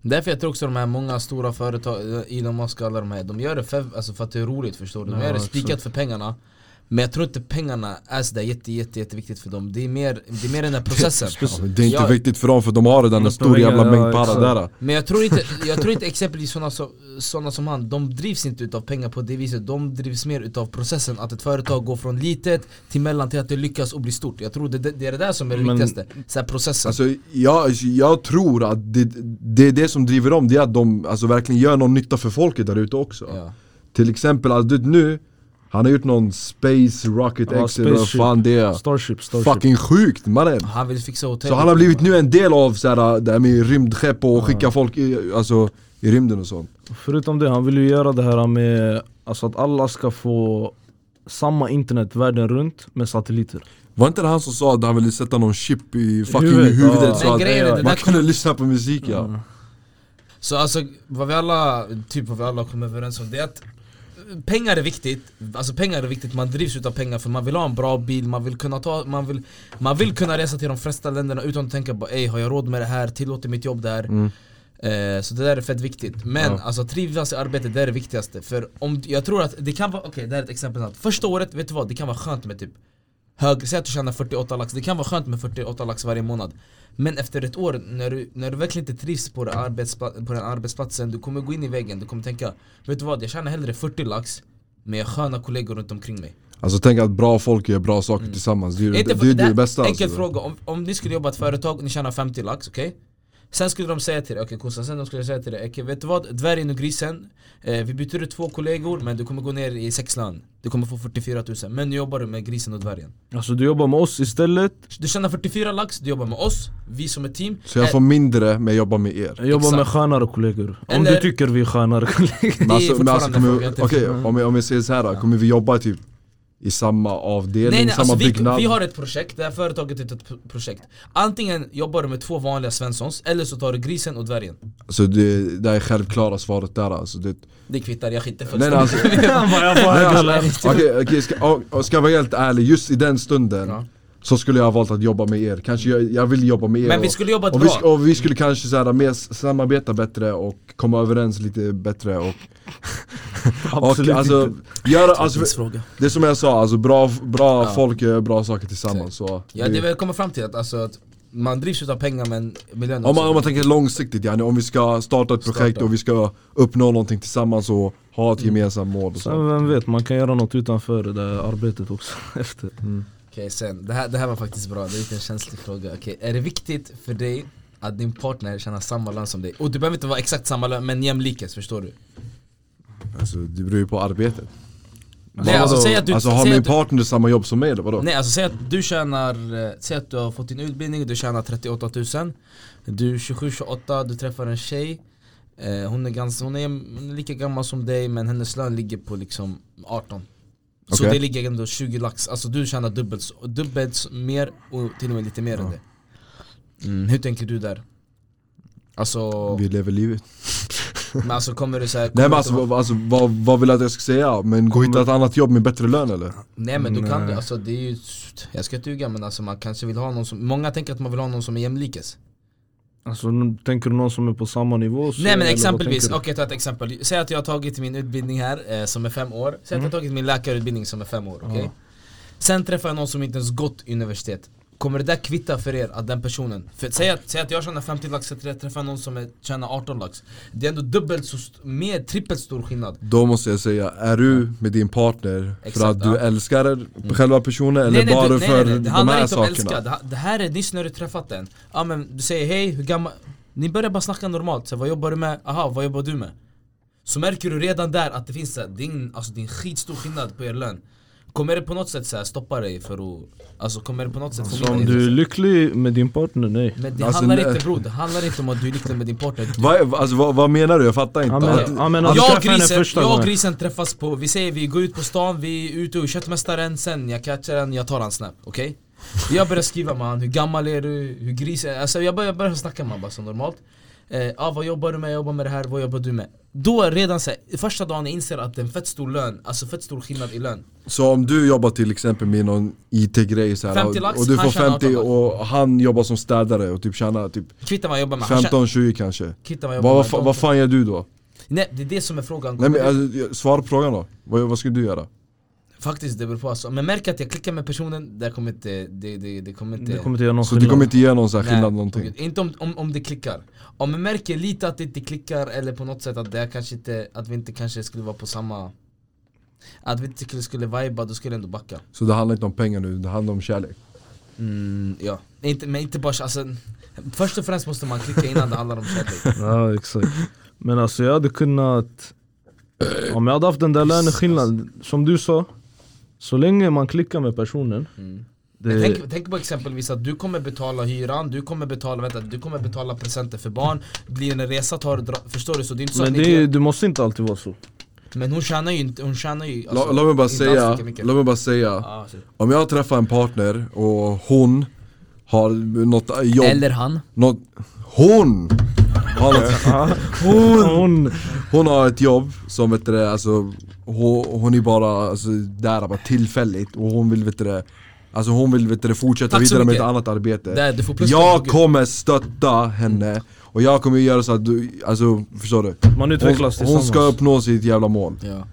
B: Därför jag tror också de här många stora företag, eh, Elon Musk och alla de här De gör det för, alltså för att det är roligt förstår du, de
C: Ja,
B: gör det
C: exakt.
B: spikat för pengarna Men jag tror inte pengarna är sådär jätte, jätte, jätteviktigt för dem Det är mer, det är mer den där processen
A: Ja, men det är inte
B: Jag-
A: viktigt för dem för de har redan en
C: De
A: stor
C: pengar,
A: jävla
C: ja,
A: mängd para
C: exakt.
A: där.
B: Men jag tror inte, jag tror inte exempelvis sådana som, såna som han, de drivs inte utav pengar på det viset De drivs mer utav processen, att ett företag går från litet till mellan till att det lyckas och blir stort Jag tror det, det det är det där som är det
C: Men-
B: viktigaste, så här processen
A: Alltså, jag, jag tror att det, det är det som driver dem, det är att de alltså, verkligen gör någon nytta för folket där ute också.
B: ja.
A: Till exempel, alltså, du, vet nu, han har gjort någon Space Rocket
C: Ja,
A: X eller vad
C: spaceship.
A: fan det är.
C: Starship, Starship.
A: Fucking sjukt mannen!
B: Han vill fixa hotell
A: Så han har blivit nu en del av så här, äh, det här med rymdskepp och skicka folk i, alltså, i rymden och sånt.
C: Förutom det, han vill ju göra det här med alltså att alla ska få samma internet världen runt med satelliter.
A: Var inte det han som sa att han ville sätta någon chip i fucking
C: Huvudet,
A: huvudet
C: ja.
A: så
B: Men
A: att äh,
B: grejen är, det där
A: man kunde lyssna på musik ja?
B: Så alltså, vad vi alla, typ vad vi alla kommer överens om det är att eh, Pengar är viktigt, alltså pengar är viktigt, man drivs utav pengar för man vill ha en bra bil, man vill kunna ta, man vill Man vill kunna resa till de flesta länderna utan att tänka på ej har jag råd med det här, tillåter mitt jobb där eh, Så det där är fett viktigt, men alltså trivas i arbetet det är det viktigaste För om, jag tror att det kan vara, okej det här är ett exempel snabbt. Första året, vet du vad, det kan vara skönt med typ hög, säg att du tjänar 48 lax, det kan vara skönt med 48 lax varje månad Men efter ett år, när du, när du verkligen inte trivs på, det arbetspla- på den arbetsplatsen, du kommer gå in i väggen, du kommer tänka Vet du vad, jag tjänar hellre 40 lax men jag har sköna kollegor runt omkring mig
A: Alltså tänk att bra folk gör bra saker tillsammans, det är ju
B: Mm. Inte
A: det,
B: för-
A: det, är det,
B: här-
A: bästa
B: Enkel
A: alltså.
B: fråga, om, om ni skulle jobba i ett företag och ni tjänar 50 lax, okej? Sen skulle de säga till dig, okej kossan, sen de skulle säga till dig, okej vet du vad? Dvärgen och grisen, eh, vi byter ut två kollegor men du kommer gå ner i sex lön Du kommer få 44 000, men nu jobbar du med grisen och dvärgen
C: Alltså du jobbar med oss istället,
B: Du tjänar 44 lax, du jobbar med oss, vi som ett team
A: Så jag får mindre men jag jobbar med er.
C: jag jobbar
B: Exakt.
C: med skönare kollegor. Om
B: Eller-
C: du tycker vi är skönare kollegor.
A: Men alltså, men alltså,
B: fortfarande
A: kommer,
B: frågan till-
A: okej, om, jag, om jag säger så här, då, kommer vi jobba typ i samma avdelning,
B: Nej nej
A: samma
B: alltså vi,
A: liksom byggnad?
B: vi har ett projekt, det här företaget är ett pro- projekt Antingen jobbar du med två vanliga svenssons, eller så tar du grisen och dvärgen
A: Alltså det, det är självklara svaret där alltså. Det,
B: Det kvittar, jag skiter
A: nej, nej, alltså,
C: Han bara, jag får
A: Nej,
C: äga lön.
A: alltså, okej, okej, ska, och- och ska jag vara helt ärlig, just i den stunden
B: Ja.
A: så skulle jag ha valt att jobba med er, kanske jag, jag vill jobba med er
B: Men vi
A: och-
B: skulle jobba
A: och
B: bra.
A: vi, sk- och vi skulle kanske så här, mer s- samarbeta bättre och komma överens lite bättre och, och
C: Absolut
A: alltså,
C: inte.
A: göra, alltså
B: fråga
A: Det är som jag sa, alltså bra, bra
B: Ja.
A: folk gör bra saker tillsammans så
B: Ja det är väl jag kommer fram till att, alltså, att man drivs utav pengar men miljön
A: om, man,
B: också.
A: om man tänker långsiktigt yani, om vi ska starta ett projekt
B: Starta. Mm.
A: och vi ska uppnå någonting tillsammans och ha ett gemensamt mål och
C: Sen
A: så.
C: vem vet, man kan göra något utanför det där arbetet också efter.
B: Okej sen, det här, det här var faktiskt bra, det är lite en känslig fråga Okej, är det viktigt för dig att din partner tjänar samma lön som dig? Och du behöver inte vara exakt samma lön men jämlikhet, förstår du?
A: Alltså, det beror ju på arbetet
B: Nej, alltså, säg att du,
A: alltså har
B: säg
A: min
B: att du,
A: partner samma jobb som mig eller vadå?
B: nej, alltså, säg att du tjänar, eh, säg att du har fått din utbildning, du tjänar 38 000 Du är 27-28, du träffar en tjej eh, hon, är ganska, hon är hon är lika gammal som dig men hennes lön ligger på liksom 18 Så
A: Okej.
B: det ligger ändå 20 lax, alltså du tjänar dubbelt, så- dubbelt så- mer och till och med lite mer än det mm, Hur tänker du där? Alltså,
A: Vi lever livet
B: men alltså kommer du såhär
A: Nej men alltså,
B: Mm.
A: vad, alltså vad, vad vill du att jag ska säga? Men gå och hitta ett annat jobb med bättre lön eller?
B: Nej men du kan
C: Nej.
B: det, alltså det är ju Jag ska inte ljuga men alltså man kanske vill ha någon som Många tänker att man vill ha någon som är jämlikes
C: Alltså nu tänker du någon som är på samma nivå så,
B: Nej
C: eller
B: men
C: vad
B: exempelvis,
C: tänker
B: okej
C: du?
B: ta ett exempel Säg att jag har tagit min utbildning här eh, som är fem år
C: Mm.
B: Säg att jag har tagit min läkarutbildning som är fem år, okej? Sen träffar jag någon som inte ens gått universitet Kommer det där kvitta för er att den personen, för säg att, säg att jag tjänar 50 lax, så jag träffar någon som är- tjänar 18 lax Det är ändå dubbelt så, st- mer trippelt stor skillnad
A: Då måste jag säga, är du med din partner
B: Exakt,
A: för att du
B: ja. Mm.
A: älskar själva personen eller
B: du-
A: bara för
B: det
A: de
B: handlar
A: här
B: inte om
A: sakerna?
B: älska, det, det här är nyss när du träffat den Ja men du säger hej, hur gammal? Ni börjar bara snacka normalt, så, här, vad jobbar du med? Aha, vad jobbar du med? Så märker du redan där att det finns så här, din, alltså, din skitstor skillnad på er lön Kommer det på något sätt så här, stoppa dig för att, alltså kommer det på något sätt få
C: Om
B: med dig?
C: du är lycklig med din partner, nej
B: Men det
A: Alltså,
B: handlar
A: nej.
B: inte bror, det handlar inte om att du är lycklig med din partner
A: Vad, alltså, vad, vad menar du? Jag fattar inte.
C: Ja, men-
A: Att-
C: ja, men att du
B: jag och,
C: träffar henne
B: grisen,
C: första
B: jag och
C: gången.
B: grisen träffas på, vi säger vi går ut på stan, vi är ute och köttmästaren, sen jag catchar den, jag tar hans snap, okej? Jag börjar skriva med han, hur gammal är du, hur grisen, alltså jag börjar, jag börjar snacka med han bara som normalt eh, ah, vad jobbar du med, jag jobbar med det här, vad jobbar du med? Då är redan så här, första dagen jag inser att det är en fett stor lön, alltså fett stor skillnad i lön
A: Så om du jobbar till exempel med någon IT-grej så här,
B: 50
A: och,
B: lax,
A: och du
B: han
A: får
B: tjänar
A: 50
B: 18
A: och han jobbar som städare och typ tjänar typ
B: Kvittar vad jag jobbar med, han tjänar-
A: 15-20 kanske.
B: kvittar vad jag
A: Vad,
B: jobbar
A: vad,
B: med
A: fa- vad fan gör du då?
B: Nej det är det som är frågan
A: Nej, men, alltså, jag- svara på frågan då. Vad, vad skulle du göra?
B: Faktiskt det beror på alltså, men märk att jag klickar med personen, det kommer inte, det, det, det kommer inte
C: Det kommer inte göra någon
A: Så det kommer
C: skillnad
A: inte ge någon så här skillnad
B: Nej,
A: någonting?
B: Inte om, om, om det klickar. Om man märker lite att det inte klickar eller på något sätt att det här kanske inte, att vi inte kanske skulle vara på samma Att vi inte skulle, skulle vibea, då skulle jag ändå backa.
A: Så det handlar inte om pengar nu, det handlar om kärlek.
B: Mm, ja. Inte, men inte bara, alltså Först och främst måste man klicka innan det handlar om kärlek.
C: Ja exakt Men alltså jag hade kunnat Om jag hade haft den där löneskillnaden, som du sa Så länge man klickar med personen
B: Mm. Men
C: det,
B: Tänk, tänk på exempelvis att du kommer betala hyran, du kommer betala, vänta, du kommer betala presenter för barn, blir en resa tar du, dra- förstår du? Så det är inte så
C: Men
B: att ni,
C: det, är- det måste inte alltid vara så
B: Men hon tjänar ju inte, hon tjänar ju alltså,
A: Lå- låt mig
B: inte
A: bara
B: alls
A: säga,
B: lika mycket.
A: låt mig bara säga
B: Ja, så-
A: om jag träffar en partner och hon har något eh, jobb,
B: Eller han
A: något, hon! Har något,
C: Hon! Hon!
A: Hon har ett jobb som vet du, det, alltså, hon, hon är bara alltså, där bara tillfälligt och hon vill vet du, det, alltså, hon vill vet du, det, fortsätta
B: Tack så
A: vidare med ett
B: mycket.
A: annat arbete
B: Där, du får plus
A: Jag
B: på-
A: kommer stötta henne och jag kommer göra så att du, alltså förstår du?
C: Man utvecklas
A: Hon, hon
C: tillsammans
A: ska uppnå sitt jävla mål
B: Ja.
A: och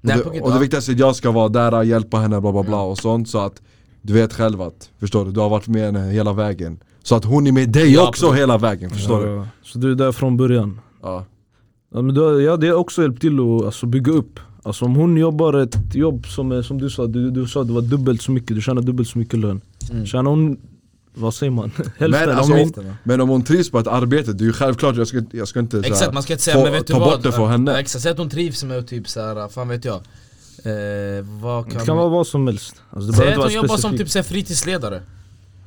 B: Nej,
A: det,
B: på
A: och det viktigaste är att jag ska vara där, hjälpa henne bla bla bla och sånt så att du vet själv att, förstår du? Du har varit med henne hela vägen Så att hon är med dig
B: Ja,
A: också
B: absolut.
A: hela vägen, förstår du?
C: Ja, Så du är där från början
A: Ja.
C: Ja, men då, jag hade också hjälpt till att alltså, bygga upp. Alltså om hon jobbar ett jobb som, är, som du sa, du, du sa det var dubbelt så mycket, du tjänar dubbelt så mycket lön.
B: Mm.
C: Tjänar hon, vad säger man? Hälften?
A: Men,
C: om
A: alltså,
C: inte-
B: Hälften, va?
A: Men om hon trivs på ett arbete, det är ju självklart jag ska, jag ska inte så här
B: Exakt, man ska inte säga
A: få,
B: men vet du
A: ta
B: vad?
A: bort det för
B: Ja,
A: henne
B: Exakt, säg att hon trivs med att typ såhär, fan vet jag eh, Vad kan,
C: det kan vara vad som helst. Alltså, det
B: Säg
C: behöver
B: att hon
C: inte vara
B: jobbar som
C: specifikt.
B: typ såhär fritidsledare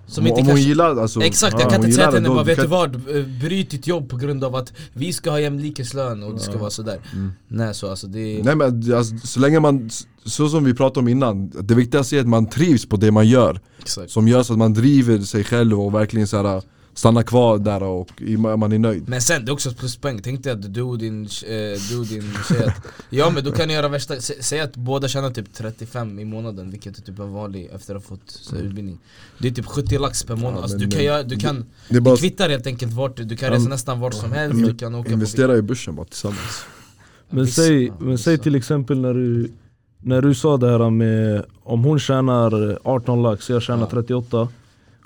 B: Som
A: Om-
B: inte
A: Om
B: kanske
A: hon gillar alltså,
B: Exakt,
A: om
B: jag kan
A: hon
B: inte säga
A: gillar
B: till henne
A: det, då
B: bara vet
A: kan-
B: du vad, eh, bryt ditt jobb på grund av att vi ska ha jämlikelslön och det ska vara sådär Nej så alltså det är
A: Mm. Nej men alltså, så länge man, så som vi pratade om innan Det viktigaste är att man trivs på det man gör
B: exakt
A: Som gör så att man driver sig själv och verkligen så här, stannar kvar där och i- man är nöjd
B: Men sen, det är också ett pluspoäng, tänk dig att du och din, eh, du och din tjej att, Ja men då kan ni göra värsta, sä- säg att båda tjänar typ 35 i månaden vilket är typ en vanlig efter att ha fått så, här utbildning Det är typ 70 lax per månad,
A: Mm. Ja,
B: alltså,
A: men-
B: du kan
A: men-
B: göra, du kan
A: Det är
B: Det
A: bara
B: kvittar helt enkelt vart du, du kan resa
A: Ja,
B: nästan vart som helst,
A: men-
B: du kan åka
A: investera i börsen bara tillsammans
B: på
C: Men
B: vissa-
C: säg,
B: ja,
C: men säg
B: vissa.
C: till exempel när du, när du sa det här med om hon tjänar 18 lax, jag tjänar
B: Ja.
C: 38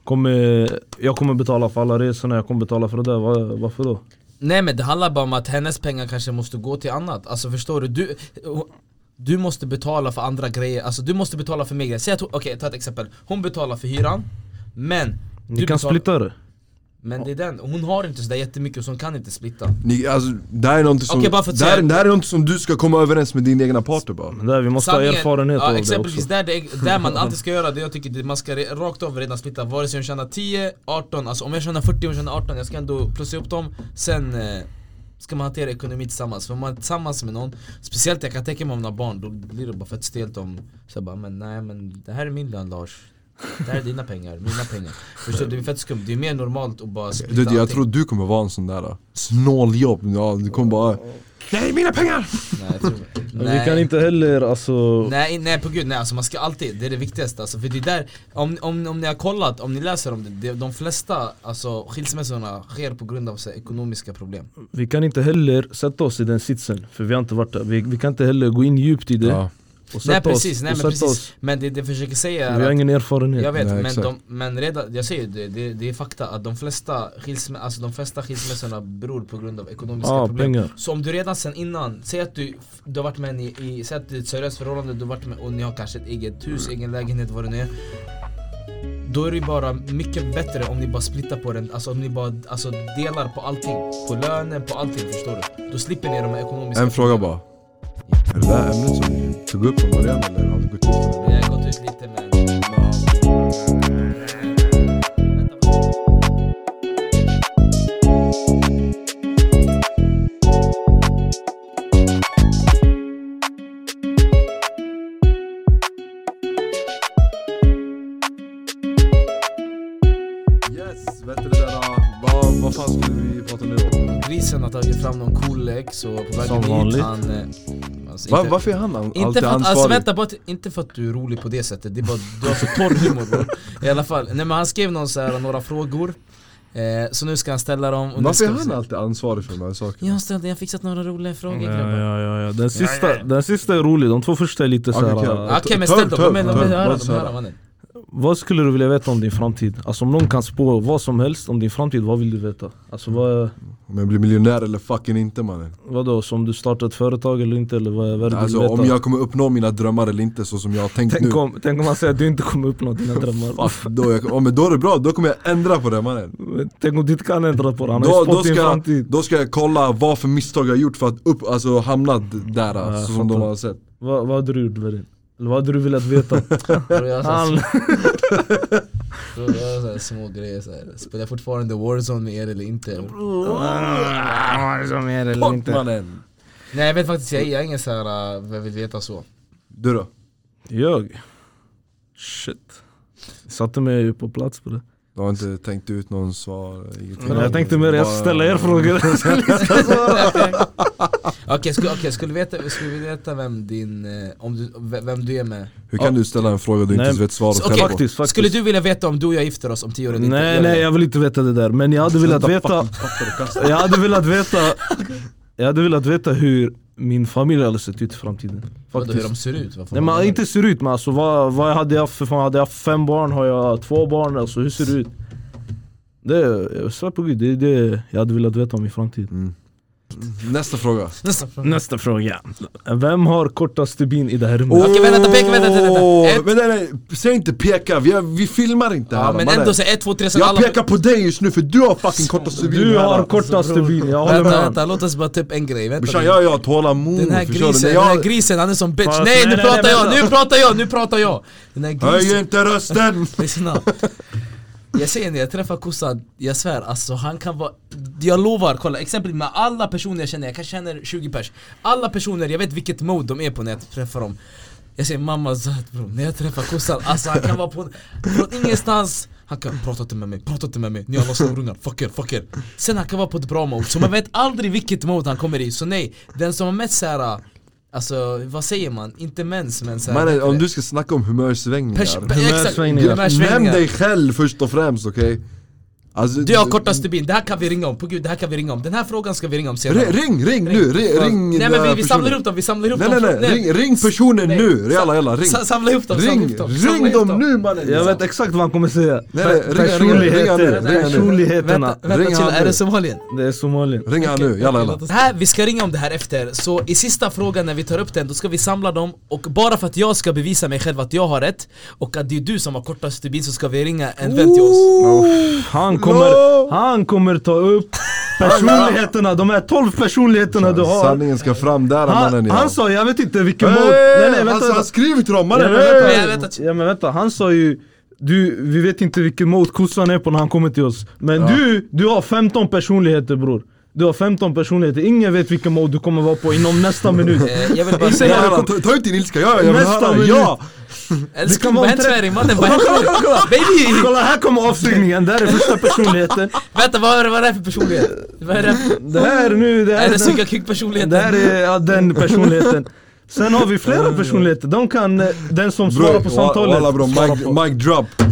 C: kommer, Jag kommer betala för alla resorna, jag kommer betala för det där, Va- varför då?
B: Nej men det handlar bara om att hennes pengar kanske måste gå till annat, alltså förstår du? Du, du måste betala för andra grejer, alltså du måste betala för mer grejer Säg att hon, okej ta ett exempel, hon betalar för hyran, men
C: Ni
B: du
C: kan
B: betalar-
C: splitta det
B: Men det är den, hon har inte sådär jättemycket så hon kan inte splitta
A: Ni, alltså, det här är någonting som,
B: Okej, bara för att
A: det här,
B: säga-
A: det här är någonting som du ska komma överens med din egna partner bara
C: Men Där, vi måste ha erfarenhet
B: ja,
C: av det också
B: exempelvis där, det, där man alltid ska göra det jag tycker det, man ska re, rakt av redan splitta Vare sig hon tjänar 10, 18, alltså om jag tjänar 40 och hon tjänar 18 Jag ska ändå plussa upp dem, sen eh, ska man hantera ekonomi tillsammans För om man är tillsammans med någon, speciellt jag kan tänka mig om man har barn Då blir det bara fett stelt om, så jag bara men nej men det här är min lön Lars Det här är dina pengar, mina pengar Förstår du? Det är fett skumt, det är mer normalt att bara splitta
A: Du, vet, jag
B: allting.
A: tror du kommer vara en sån där snåljobb, ja, du kommer bara Nej mina pengar!
B: Nej, jag tror,
C: Men
B: nej.
C: Vi kan inte heller alltså
B: Nej, nej på gud, nej alltså man ska alltid, det är det viktigaste alltså, för det är där, om, om, om ni har kollat, om ni läser om det, det de flesta alltså, skilsmässorna sker på grund av så, här, ekonomiska problem
C: Vi kan inte heller sätta oss i den sitsen, för vi har inte varit där Vi, vi kan inte heller gå in djupt i det
A: Ja.
C: och sätta
B: Nej
C: oss,
B: precis, nej men
C: och sätta
B: precis.
C: oss.
B: Men det, det jag försöker säga
C: Vi har
B: är att,
C: ingen erfarenhet.
B: jag vet,
A: Nej,
B: men,
A: exakt.
B: de, men redan, jag säger det, det, det är fakta att de flesta, skilsmä, alltså de flesta skilsmässorna beror på grund av ekonomiska
C: Ja,
B: problem
C: pengar.
B: Så om du redan sen innan, säg att du, du har varit med en i, i säg att det är ett seriöst förhållande du har varit med och ni har kanske ett eget hus, egen lägenhet, vad det nu är Då är det ju bara mycket bättre om ni bara splittar på den, alltså om ni bara alltså, delar på allting På lönen, på allting, förstår du? Då slipper ni de här ekonomiska
A: En fråga bara. Är det där ämnet som vi tog upp från början eller har vi gått ut?
B: Jag har gått ut lite men...
A: Yes, vet du det där, uh, vad, vad fan skulle vi prata nu om?
B: Grisen har tagit fram någon cool lek så på
C: Som
B: vägen hit
C: vanligt.
B: han... eh, Alltså,
A: Va,
B: inte-
A: varför är han an-
B: Inte
A: alltid
B: för, att,
A: ansvarig?
B: alltså vänta, bara, till- inte för att du är rolig på det sättet, det är bara du har så torr humor bro. I alla fall, nej men han skrev någon så här, några frågor eh, Så nu ska han ställa dem och nu
A: varför
B: ska
A: är
B: vi
A: han
B: se.
A: alltid ansvarig för de här sakerna?
B: Jag har ställt, jag har fixat några roliga frågor
C: Ja,
B: grabbar
C: ja, ja, ja. Den, sista,
B: ja, ja.
C: den sista är rolig, de två första är lite
A: Okej,
C: såhär...
A: okej.
B: Okej men
A: Töv,
B: ställ dem,
A: töv,
B: de vill de vill
A: töv,
B: höra,
A: vad
B: de
A: sa
B: vill höra
A: du?
B: mannen
C: Vad skulle du vilja veta om din framtid? Alltså om någon kan spå vad som helst om din framtid, vad vill du veta? Alltså vad,
A: Om jag blir miljonär eller fucking inte mannen.
C: vadå, som du startar ett företag eller inte eller vad, vad är det du
A: Alltså
C: vill veta?
A: om jag kommer uppnå mina drömmar eller inte så som jag har tänkt nu.
C: tänk, om, tänk om han säger att du inte kommer uppnå dina drömmar
A: Fuck, då, jag, ja, men då är det bra, då kommer jag ändra på det mannen.
C: Men Tänk om du inte kan ändra på det, han har
A: Då,
C: ju
A: då,
C: spått din
A: ska,
C: framtid
A: då ska jag kolla vad för misstag jag har gjort för att upp, alltså, hamna d- där
C: Ja, jag
A: alltså, som de
C: fattar.
A: har sett.
C: vad, vad hade du gjort Verin? Eller vad hade du velat veta?
B: Bror, Jag har så här
C: Han,
B: små- bror, jag har så här små grejer så här. Spelar jag fortfarande Warzone med er eller inte?
C: som är eller
A: Fuck
C: inte
A: mannen!
B: Nej jag vet faktiskt, jag, jag är ingen såhär, vem vill veta så
A: Du då?
C: Jag? Shit Satte mig ju på plats på det
A: Du har inte tänkt ut någon svar? ingenting?
C: Men jag tänkte mer, jag ska
A: Bara-
C: ställa er frågor
B: Okej, skulle, okay, skulle, du veta, skulle vi veta vem din, eh, om du, v- vem du är med?
A: Hur kan du ställa en fråga du inte
C: Nej.
A: ens vet svaret
B: Så, okej.
A: själv på?
C: Faktiskt, faktiskt
B: Skulle du vilja veta om du och jag gifter oss om tio år eller inte?
C: Nej
B: Gör
C: nej
B: det.
C: jag vill inte veta det där, men jag hade velat veta Jag hade velat veta Jag hade velat veta hur min familj hade sett ut i framtiden
B: Vadå,
C: Faktiskt
B: hur de ser ut? Vad fan
C: Nej men
B: menar
C: inte ser ut men alltså vad, vad hade jag för fan, hade jag haft fem barn? Har jag två barn? Alltså hur ser det ut? Det, jag svär på gud, det är det jag hade velat veta om min framtid
A: Nästa fråga
C: Mm.
B: du? Nästa fråga.
C: Nästa fråga Vem har kortast bin i det här rummet?
A: Åh,
B: Okej, vänta, peka, vänta, vänta, vänta.
A: åh,
B: Ett.
A: Men nej, nej, säg inte peka, vi, har, vi filmar inte här
B: Ja, men
A: mannen.
B: ändå så ett, två, tre, sen
A: Jag
B: alla...
A: pekar på dig just nu för du har fucking kortast bil
C: Du
A: här.
C: har kortast bin, jag håller
B: Vänta,
C: med
B: vänta, låt oss bara ta upp en grej, vänta
A: Brorsan jag, jag har tålamod
B: Den här
A: förstår du?
B: grisen,
A: När
B: den här
A: jag-
B: grisen, han är som bitch
C: Fast-
B: Nej nu
C: nej, nej,
B: pratar
C: nej,
B: jag,
C: vänta.
B: nu pratar jag, nu pratar jag! Den här
A: Höj
B: grisen,
A: inte rösten!
B: lyssna Jag säger när jag träffar kossan, jag svär alltså han kan vara Jag lovar, kolla exempelvis med alla personer jag känner, jag kanske känner 20 pers Alla personer, jag vet vilket mode de är på när jag träffar dem Jag säger mamma Zat bro, när jag träffar kossan, alltså han kan vara på från ingenstans han kan prata inte med mig, prata inte med mig, ni alla snorungar, fuck er, fuck er Sen han kan vara på ett bra mode, så man vet aldrig vilket mode han kommer i Så nej, den som har mest såhär, alltså vad säger man? Inte mens men såhär
A: Mannen om
B: vet
A: du ska snacka om humörsvängningar
B: Pers- pe- exakt,
C: Humörsvängningar.
A: Nämn
B: humörsvängningar.
A: dig själv först och främst okej? Alltså,
B: Du har kortaste bin, det här kan vi ringa om, på gud det här kan vi ringa om Den här frågan ska vi ringa om senare
A: Ring, ring, ring nu! Ring, ring
B: Nej
A: den
B: men vi,
A: här
B: vi samlar
A: personen.
B: ihop dem, vi samlar ihop
A: Nej
B: dem
A: nej nej, ring, ring personen
B: Nej.
A: nu! Jalla jalla, ring!
B: Sa- Samla ihop dem, samla
A: Ring,
B: ihop dem samla
A: ring
B: ihop
A: dem nu mannen!
C: Jag vet exakt vad han kommer säga
A: Nej, nej, ringa, ringa, ringa
C: Personligheter,
A: nu, ringa nu.
C: personligheterna
B: Vänta, vänta
A: Ring
B: chilla,
A: han
B: är
A: nu.
B: det Somalien?
C: Det är Somalien
A: Ring han nu, jalla jalla
B: Det Här, vi ska ringa om det här efter, så i sista frågan när vi tar upp den, då ska vi samla dem Och bara för att jag ska bevisa mig själv att jag har rätt Och att det är du som har kortaste bin så ska vi ringa en vän till oss
C: Han kommer,
A: No!
C: han kommer ta upp personligheterna, de här 12 personligheterna du har
A: Sanningen ska fram där mannen
C: Han,
A: ja.
C: han sa, jag vet inte vilken
A: Hey,
C: mode Nej nej
A: han,
C: vänta,
A: han
C: vänta.
A: skriver till dem mannen!
C: Ja, men vänta.
B: Nej, vänta,
C: Ja men vänta, han sa ju du, vi vet inte vilken mode kossan är på när han kommer till oss Men du, du har 15 personligheter bror Du har 15 personligheter, ingen vet vilken mode du kommer vara på inom nästa minut
B: Eh, Jag vill bara
A: Jalla,
B: säga,
A: jalla, ta- Ta ut din ilska, ja jag vill
C: Nästa
A: höra,
C: minut.
A: ja!
C: det kan
B: älskling
C: vara
B: vad händer
C: tre-
B: med dig mannen? Vad händer? Baby!
C: Kolla här kommer avstängningen, där är första personligheten
B: Vänta vad är det- vad är det här för personlighet? Vad är det här för-
C: Det här nu, det
B: Är
C: här
B: det
C: är,
B: suga kuk personligheten?
C: det här är ja, den personligheten Sen har vi flera personligheter, de kan, eh, den som svarar på samtalet
A: Walla bro,
C: svarar
A: mic,
C: på.
A: mic drop bro,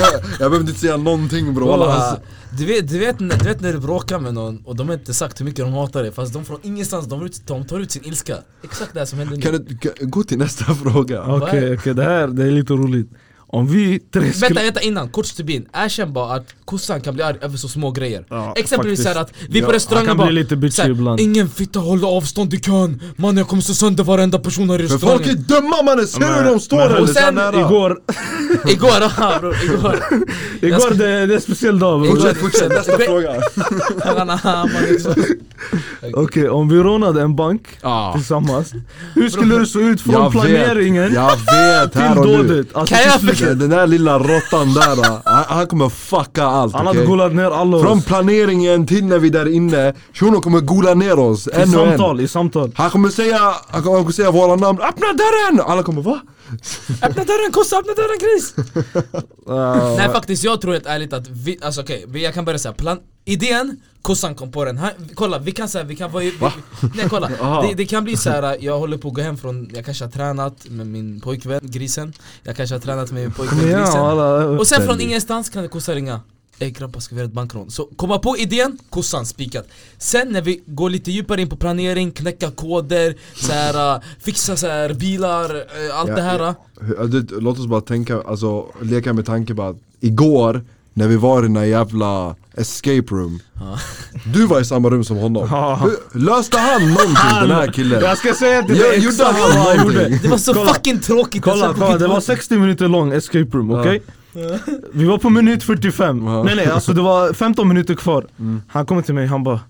A: jag, jag behövde inte säga någonting bro, walla alltså,
B: du, vet, du, vet, när- du vet när du bråkar med någon och de har inte sagt hur mycket de hatar dig fast de från ingenstans, de, ut, de tar ut sin ilska Exakt det här som händer nu
A: kan du kan, gå till nästa fråga?
C: Okej, okej det här det är lite roligt Om vi tre
B: Vänta,
C: skulle...
B: vänta innan, kort stubin, erkänn bara att kossan kan bli arg över så små grejer
C: Ja,
B: Exempelvis
C: faktiskt.
B: såhär att vi
A: Ja,
B: på
A: han
B: restaurangen
C: kan
B: bara
C: bli lite bitchy
B: så här,
C: ibland.
B: Ingen fitta håller avstånd i kön, man jag kommer slå sönder varenda person här i
A: För folk är
B: restaurangen
A: dumma mannen, ser du hur de står
C: Men-
A: eller?
C: och
A: Så
B: sen
A: nära.
C: Igår,
B: Igår, ja bror, igår Jag ska-
C: igår det, det är en speciell dag bror
B: Igår-
A: Fortsätt, fortsätt, nästa
B: Be-
A: fråga
B: Han, han, han, man, liksom.
C: Okej, om vi rånade en bank
A: Ja.
C: tillsammans Hur skulle det se ut från
A: Jag
C: planeringen
A: vet, jag vet här
C: till
A: och nu
C: dådet? Alltså,
B: Kan jag
C: till slut.
B: förklara?
A: Den där lilla råttan där, ah, han, han kommer fucka allt
C: Han
A: okej?
C: hade golat ner alla
A: Från
C: oss
A: planeringen till när vi där inne, shunon kommer gola ner oss
C: I
A: en och en
C: samtal, i samtal
A: Han kommer säga, han kommer han kommer säga våra namn, öppna dörren! Alla kommer va?
B: Öppna dörren kossa, öppna dörren gris!
C: Ah,
B: Nej faktiskt, jag tror helt ärligt att vi, alltså okej, vi- jag kan börja säga plan Idén, kossan kom på den, här, kolla vi kan säga, vi kan vara i, vi, Nej kolla,
A: Aha.
B: det, det kan bli så här. äh, jag håller på att gå hem från, jag kanske har tränat med min pojkvän grisen Jag kanske har tränat med min pojkvän
C: men ja,
B: grisen
C: alla-
B: Och sen från
A: Väldigt.
B: ingenstans kan kossan ringa Ey grabbar ska vi göra ett bankrån? Så komma på idén, kossan spikat Sen när vi går lite djupare in på planering, knäcka koder, så här, äh, fixa så här, bilar, äh, allt
A: Ja,
B: det här
A: ja.
B: äh.
A: Hur- alltså, du, Låt oss bara tänka, alltså leka med tanke på att igår när vi var i den här jävla escape room
B: Ja.
A: Du var i samma rum som honom,
C: Ja.
A: Hur- löste han någonting den här killen?
C: Jag ska säga till
A: Jag
C: dig
A: gjorde
C: exakt
A: han
C: vad han
A: någonting?
C: gjorde
B: Det var så
C: Kolla.
B: fucking tråkigt
C: Kolla,
B: alltså,
C: kolla, det var
B: skit-
C: 60 minuter lång escape room, okej? Vi var på minut 45,
A: Ja.
C: nej nej alltså det var 15 minuter kvar Han kommer till mig, han bara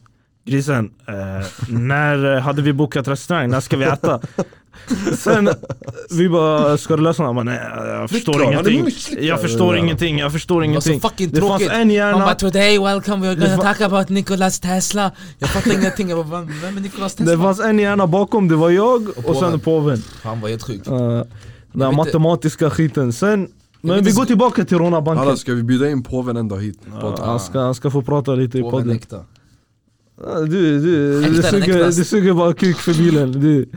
C: Grisen, eh, när eh, hade vi bokat restaurang? När ska vi äta? Sen, vi bara, ska du lösa den? Han bara, nej jag förstår
A: klart, han är
C: ingenting
A: misslyckad."
C: Jag förstår ingenting, jag förstår
B: Det var
C: ingenting
B: så fucking
C: Det fanns
B: tråkigt.
C: en
B: Han bara
C: hjärna,
B: today welcome, we're
C: Det
B: gonna
C: fa-
B: talk about Nikolas Tesla Jag fattar ingenting, jag bara vem vem är Nikolas
C: det
B: Tesla?
C: fanns en hjärna bakom, det var jag och
B: påven.
C: sen påven
B: Han var helt sjuk
C: uh, Den här
B: vet inte-
C: matematiska skiten, sen
B: vet
C: men
B: inte
C: vi
B: så-
C: går tillbaka till rånarbanken
A: Alla ska vi bjuda in påven en dag hit?
C: Ja, han, ska, han ska få prata lite i
B: Påven
C: podden.
B: äkta
C: Ja, Du, du,
B: Äkta,
C: du,
B: den
C: suger,
B: äktaste.
C: du suger bara kuk för bilen. Du,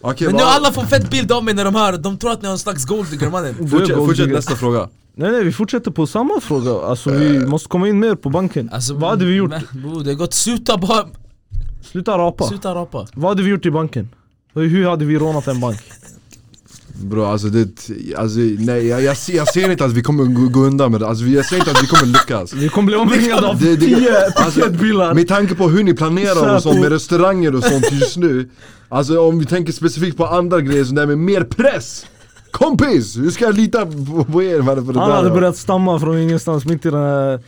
A: Okej,
B: Men nu
A: va-
B: alla får fett bild av mig när de hör, de tror att ni har en slags golddigger mannen
C: du är
A: fortsätt, fortsätt
C: golddigger.
A: nästa fråga
C: Nej nej, vi fortsätter på samma fråga. Alltså vi måste komma in mer på banken. Vad hade vi gjort?
B: Alltså, men, bro, Det har gått suta bara,
C: Sluta rapa.
B: sluta rapa
C: Vad hade vi gjort i banken? Hur hur hade vi rånat en bank?
A: Bro alltså det, alltså, nej jag, jag, ser- jag ser inte att vi kommer gå, gå undan med det, alltså, jag ser inte att vi kommer lyckas
C: Vi kommer bli omringade av
A: Det- det-
C: tio
A: alltså,
C: piketbilar.
A: Med tanke på hur ni planerar och sånt
C: Säpo.
A: med restauranger och sånt just nu Alltså om vi tänker specifikt på andra grejer som det här med mer press Kompis! Hur ska jag lita på, på er mannen för det
C: Han
A: där?
C: hade börjat stamma från ingenstans mitt i den här...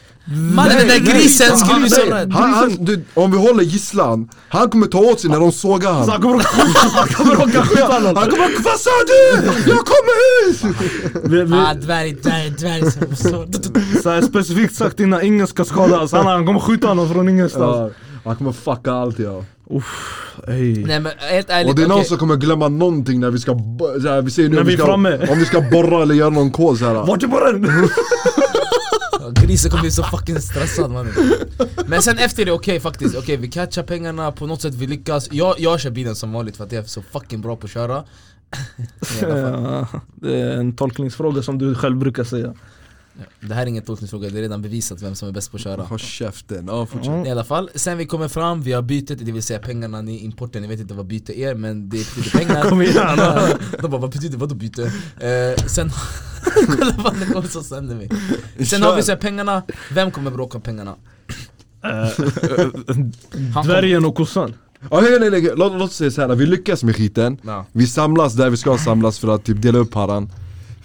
B: Mannen den där
A: Nej,
B: grisen
A: han-
B: skulle bli
A: nej,
B: så rädd
A: han, han, du, Om vi håller gisslan, han kommer ta åt sig när de sågar han
C: Så han kommer han kommer råka skjuta någon.
A: Han kommer 'Vad sa du? Jag kommer ut!'
C: Vi- vi-
B: Ah dvärg, dvärg, dvärg som så-
C: så här Specifikt sagt innan ingen ska skadas. Han- Han kommer skjuta någon från ingenstans.
A: Ja, han kommer fucka allt ja
C: Ey.
B: Nej men helt ärligt,
A: Och det är någon
B: okej.
A: som kommer glömma någonting när vi ska, bo- så här, vi säger nu
C: När
A: om
C: vi är
A: ska,
C: framme.
A: om vi ska borra eller göra någon kod såhär
C: Vart är borren?
B: Ja, Grisen kommer bli så fucking stressad mannen Men sen efter det, okej faktiskt, okej vi catchar pengarna, på något sätt vi lyckas jag, jag kör bilen som vanligt för att jag är så fucking bra på att köra I alla fall.
C: Ja, Eh, det är en tolkningsfråga som du själv brukar säga.
B: Det här är ingen tolkningsfråga, det är redan bevisat vem som är bäst på att köra
A: Håll käften, ja fortsätt
B: I alla fall, sen vi kommer fram, vi har bytet, det vill säga pengarna, ni importen, ni vet inte vad byte är men det betyder pengar
C: Kom igen!
B: De bara vad betyder vadå byte? Eh, sen, kolla vad det kommer så sänder mig Sen har vi så här, pengarna, vem kommer bråka om pengarna? Han kommer-
C: Dvärgen och kossan.
A: Ja, nej, nej, nej. Låt, låt oss säga såhär, vi lyckas med skiten
B: Ja.
A: Vi samlas där vi ska samlas för att typ dela upp haran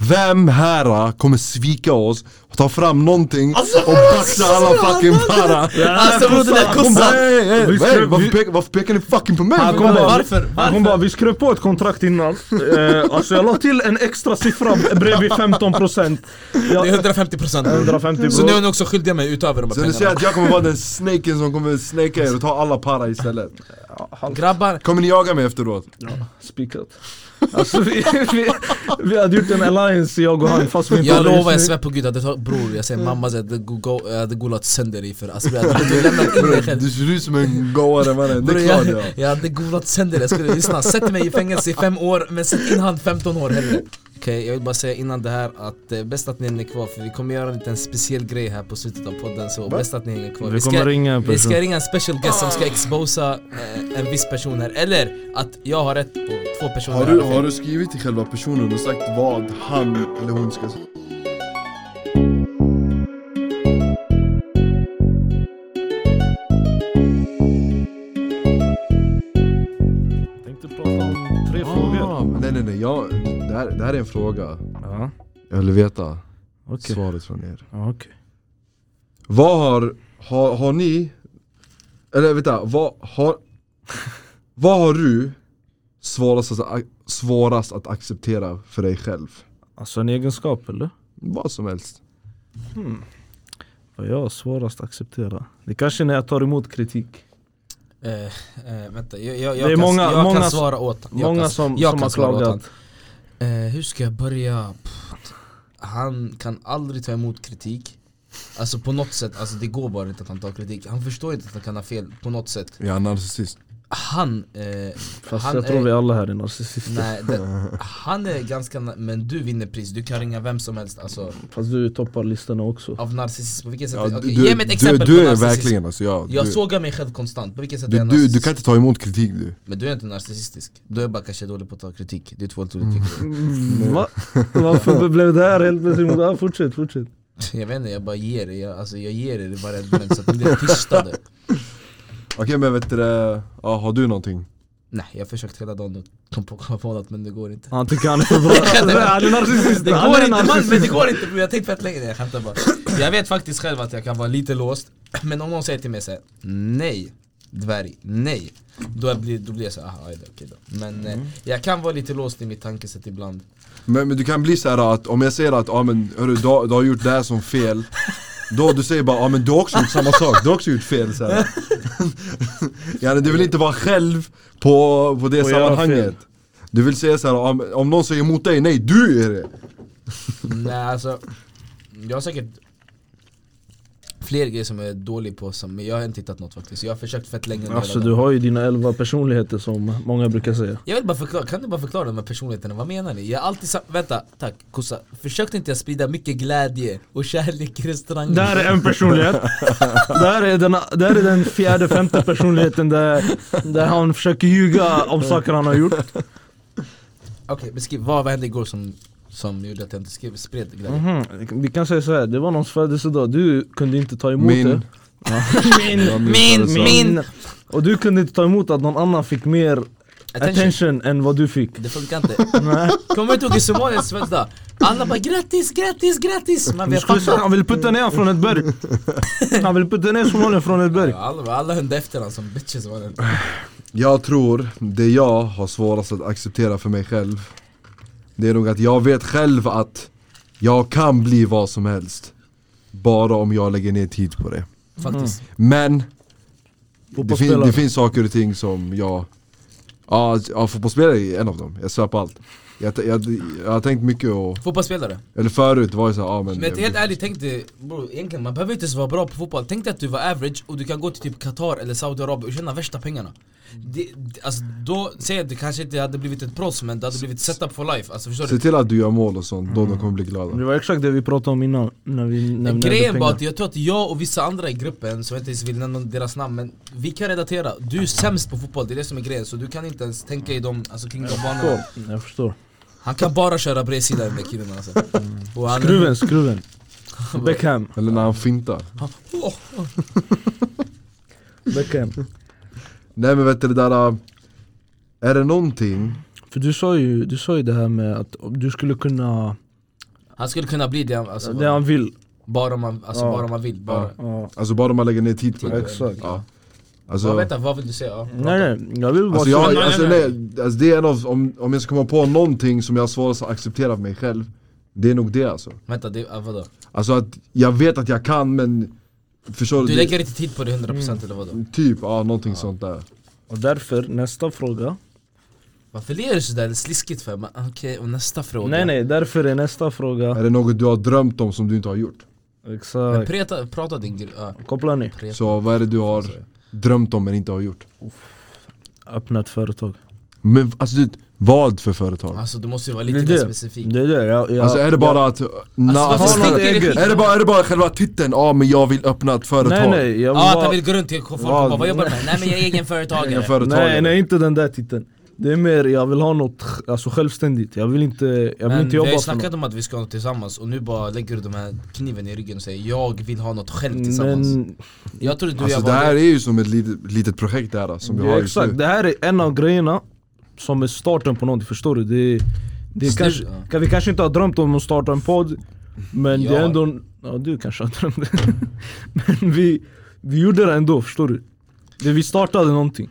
A: Vem här äh, kommer svika oss och ta fram någonting och baxa alla fucking para?
B: Alltså bror den där
A: Kom,
B: kossan!
A: nej, nej,
C: Vi
A: nej,
C: skrev-
A: varför,
C: vi-
A: pekar, varför pekar ni fucking på mig?
C: Han Ah, kom bara,
B: Varför?
C: Han kom bara, vi skrev på ett kontrakt innan. Eh, alltså jag la till en extra siffra bredvid 15%.
B: Det
C: Ja,
B: är 150% bror
C: 150
B: Så nu är
C: bror.
B: ni också skyldiga mig utöver de här
A: Så du säger
B: pengarna
A: att jag kommer vara den snaken som kommer snaka er och ta alla para istället?
C: halvt
B: Grabbar,
A: Kommer ni jaga mig efteråt?
C: spikat Alltså vi, vi, vi hade gjort en alliance jag och han fast vi inte
B: Jag
C: hade
B: lovar, jag
C: just nu.
B: svär på gud, jag hade tagit, bror jag säger mamma, så jag hade go- go- jag hade golat sönder dig för alltså, jag hade du lämnat in dig själv
A: Du ser ut som en goare mannen, det
B: Bror,
A: är klart ja.
B: jag, jag hade golat sönder dig, jag skulle lyssna, sätt mig i fängelse i fem år men sätt in han 15 år hellre Okej, jag vill bara säga innan det här att eh, bäst att ni hänger kvar för vi kommer göra en liten speciell grej här på slutet av podden så bäst att ni hänger kvar
C: Vi kommer ringa en
B: vi
C: person
B: ska ringa en special guest som ska exposa eh, en viss person här, eller att jag har rätt och två personer
A: Har du,
B: fel.
A: har du skrivit till själva personen och sagt vad han eller hon ska säga?
C: Tänkte prata om tre frågor
A: Ah, nej nej nej, jag, det, här, det här är en fråga
C: Ja,
A: Jag vill veta
C: okej
A: svaret från er
C: Ja, ah, okej.
A: Vad har, har, har ni, eller vänta, vad har, vad har du svårast att, svårast att acceptera för dig själv?
C: Alltså en egenskap eller?
A: Vad som helst
C: Vad jag har svårast att acceptera Det kanske är när jag tar emot kritik
B: Eh, eh, vänta, jag, jag, jag,
C: Det är
B: kan,
C: många-
B: jag
C: många
B: kan
C: som-
B: svara åt jag
C: Många
B: kan,
C: som,
B: jag
C: som
B: kan
C: har
B: svara åt
C: klagat
B: han. Eh, Hur ska jag börja? Pff, Han kan aldrig ta emot kritik Alltså på något sätt, alltså det går bara inte att han tar kritik Han förstår inte att han kan ha fel på något sätt
A: Jag är narcissist
B: Han, eh,
C: Fast
B: han
C: jag tror
B: är,
C: vi alla här är narcissister
B: nej, det, Han är ganska, na- men du vinner pris, du kan ringa vem som helst alltså
C: Fast du toppar listorna också
B: Av narcissism, på vilket sätt?
A: ja,
B: Okej,
A: du,
B: ge mig ett
A: du,
B: exempel
A: du
B: på
A: är
B: narcissism
A: verkligen alltså, ja,
B: Jag
A: du,
B: sågar mig själv konstant, på vilket sätt är
A: du,
B: jag
A: du, du
B: narcissist?
A: kan inte ta emot kritik du
B: Men du är inte narcissistisk, du är bara kanske dålig på att ta kritik, det är två helt olika grejer Mm.
C: Va? Mm. Varför blev det här helt plötsligt? Ja, fortsätt, fortsätt
B: Jag vet inte, jag bara ger er, jag, alltså jag ger er varenda men så att ni blir tystade
A: Okej men vet du det, ja, har du någonting?
B: Nej jag har försökt hela dagen och kom på, komma på något men det går inte
C: Han tycker han är för bra Han är narcissist,
B: Det
C: han
B: går
C: är
B: inte man, men det
C: narcissist
B: går inte! bror. Jag har tänkt fett länge, nej jag skämtar bara Jag vet faktiskt själv att jag kan vara lite låst Men om någon säger till mig såhär, nej dvärg, nej Då blir, då blir jag såhär, aha, aj då, okej då Men eh, jag kan vara lite låst i mitt tankesätt ibland
A: Men, men du kan bli så här att om jag säger att ah, men, hörru, du, har- du har gjort det här som fel Då du säger bara ah, men du har också gjort samma sak, du har också gjort fel så här. ja, Du vill inte vara själv på, på det
C: Och göra fel.
A: sammanhanget Du vill säga så här, ah, men om någon säger emot dig, nej du är det!
B: Nej alltså, jag har säkert fler grejer som jag är dålig på, som, men jag har inte hittat något faktiskt Jag har försökt fett länge nu
C: Alltså
B: hela
C: du
B: dagen.
C: har ju dina elva personligheter som många brukar säga
B: Jag vill bara förklara, kan du bara förklara de här personligheterna, vad menar ni? Jag har alltid sagt, vänta, tack kossa Försökte inte jag sprida mycket glädje och kärlek i restaurangen?
C: Där är en personlighet Där är den, där är den fjärde, femte personligheten där, där han försöker ljuga om saker han har gjort
B: Okej, beskriv, vad hände igår som, som gjorde att jag inte skrev, spred glädje?
C: Mhm, Vi kan säga så här, det var någons födelsedag, du kunde inte ta emot
A: Min.
C: det Ja. Min,
B: Min,
A: födelsedag.
B: min!
C: Och du kunde inte ta emot att någon annan fick mer
B: Attention.
C: attention än vad du fick
B: Det funkar inte
C: Nej.
B: Kommer du inte ihåg i Somaliens födelsedag? Alla bara grattis, grattis, grattis! Man
C: Du
B: vet
C: skulle säga,
B: pappa
C: han vill putta ner honom från ett berg Han vill putta ner somalien från ett berg
B: alla, alla hände efter honom som bitches mannen
C: Mm.
A: Jag tror det jag har svårast att acceptera för mig själv Det är nog att jag vet själv att jag kan bli vad som helst Bara om jag lägger ner tid på det
B: Faktiskt
A: Men det, fin-
C: Fotbollsspelare.
A: det finns saker och ting som jag... Ja, ja fotbollsspelare är en av dem, jag svär på allt jag, t- jag, jag har tänkt mycket och,
B: Fotbollsspelare.
A: eller förut var det såhär, ja men...
B: Men helt ärligt, tänk dig bror, egentligen man behöver inte ens vara bra på fotboll. Tänk dig att du var average och du kan gå till typ Qatar eller Saudiarabien och tjäna värsta pengarna. Det, det, alltså, då säger jag att det kanske inte hade blivit ett proffs men det hade blivit setup for life. Alltså förstår
A: Se
B: du?
A: till att du gör mål och sånt, då de kommer bli
C: Det
A: glada
C: var exakt det vi pratade om innan när vi nämnde
B: Grejen var
C: pengar.
B: att jag tror att jag och vissa andra i gruppen, som jag inte ens vill nämna deras namn men vi kan relatera. Du är sämst på fotboll, det är det som är grejen. Så du kan inte ens tänka i dem, alltså kring de banorna.
C: förstår. Jag förstår
B: Han kan bara köra bredsida den där killen alltså. Och han-
C: Mm. Skruven, skruven Beckham,
A: Eller när han fintar
B: Åh,
C: Beckham
A: Nej men vet du det där... äh, Är det någonting
C: För du sa ju, du sa ju det här med att om du skulle kunna,
B: Han skulle kunna bli det, alltså,
C: det han vill
B: bara, om man, alltså,
C: Ja.
B: bara om man vill. Bara.
C: ja.
A: Alltså bara man lägger ner tid på det.
C: Exakt.
A: Ja.
B: Ja,
A: Alltså,
B: vänta, vad vill du säga? Ja, prata.
C: Nej nej, jag vill bara
A: alltså, jag,
C: säga-
B: nej,
A: alltså,
B: nej.
A: nej, alltså det är en av, om, om jag ska komma på någonting som jag har svårast att acceptera för mig själv Det är nog det alltså
B: Vänta, det, ah, vadå?
A: Alltså att jag vet att jag kan men Förstår du?
B: Du
A: det-
B: lägger inte tid på det 100% eller vadå?
A: Typ, ja någonting sånt där
C: Och därför, nästa fråga.
B: Varför ler du sådär? Det är sliskigt för mig. Okej, och nästa fråga.
C: Nej nej, därför är nästa fråga.
A: Är det något du har drömt om som du inte har gjort?
B: Men
C: Exakt.
B: preta, prata din ah. grej. Ja.
C: Kopplar ni?
A: Så vad är det du har drömt om men inte har gjort?
C: Öppna ett företag.
A: Men alltså du, vet, vad för företag?
B: Alltså du måste ju vara
C: Det
B: lite
C: är
B: mer
C: det.
B: specifik.
C: Det är det. Jag, jag,
A: Alltså är det bara att... na,
B: varför
A: alltså,
C: sticker
A: är, det,
C: det skit?
A: är, det bara, är det bara själva titeln? Ja men jag vill öppna ett företag
C: Nej nej, jag
B: Ja,
C: vill
B: ah, att
C: bara-
B: han vill gå runt till folk och
C: Ja,
B: bara, vad jobbar du med? Nej men jag är
A: Egen
B: egenföretagare.
A: företagare.
C: Nej, nej inte den där titeln. Det är mer, jag vill ha något sj- alltså, självständigt. Jag vill inte, jag vill
B: Men
C: inte
B: vi har
C: jobba
B: ju
C: för
B: snackat
C: något.
B: om att vi ska ha något tillsammans och nu bara lägger du den här kniven i ryggen och säger jag vill ha något själv tillsammans.
C: Men,
B: jag tror du och
A: Alltså
B: jag
A: det
B: var
A: här är ju som ett litet, litet projekt där alltså, som vi
C: ja,
A: har just
C: exakt,
A: nu
C: det här är en av grejerna som är starten på någonting, förstår du? Det, är- det är
B: Snyggt,
C: kanske,
B: ja.
C: kan, vi kanske inte har drömt om att starta en podd, men det
B: Ja.
C: är ändå, ja du kanske har drömt det. men vi, vi gjorde det ändå, förstår du? Det, vi startade någonting.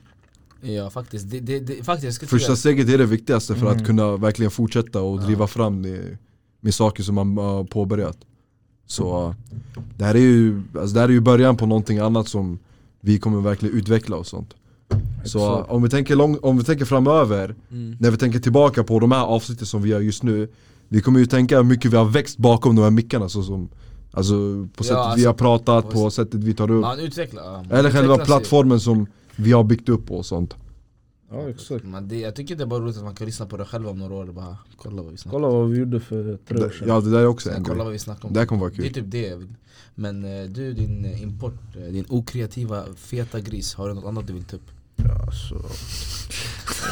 B: Ja faktiskt, det, det, det, faktiskt jag skulle
A: Första
B: Första...
A: steget är det viktigaste för
B: Mm.
A: att kunna verkligen fortsätta och driva fram det med saker som man har påbörjat Så
B: Mm.
A: eh, det här är ju, alltså det här är ju början på någonting annat som vi kommer verkligen utveckla och sånt Så eh,
C: Exakt.
A: om vi, tänker lång, om vi tänker framöver,
B: Mm.
A: när vi tänker tillbaka på de här avsnitten som vi gör just nu Vi kommer ju tänka hur mycket vi har växt bakom de här mickarna så som Alltså
B: Ja,
A: på sättet vi
B: alltså,
A: har pratat,
B: på
A: på, sättet vi tar upp
B: Man utvecklar, ja, man
A: Eller själva
B: utvecklas ju.
A: plattformen som vi har byggt upp och sånt
C: Ja exakt.
B: Men det, jag tycker det är bara roligt att man kan lyssna på det själv om några år och bara kolla vad vi snackar om.
C: Kolla vad vi gjorde för tre år sedan.
A: Ja det där är också
B: Kolla,
A: en
B: kolla
A: grej
B: vad vi snackar om.
A: Det här kommer vara
B: Det är
A: kul
B: typ det jag vill. Men eh, du din eh, import, eh, din okreativa feta gris, har du något annat du vill ta upp?
C: Alltså.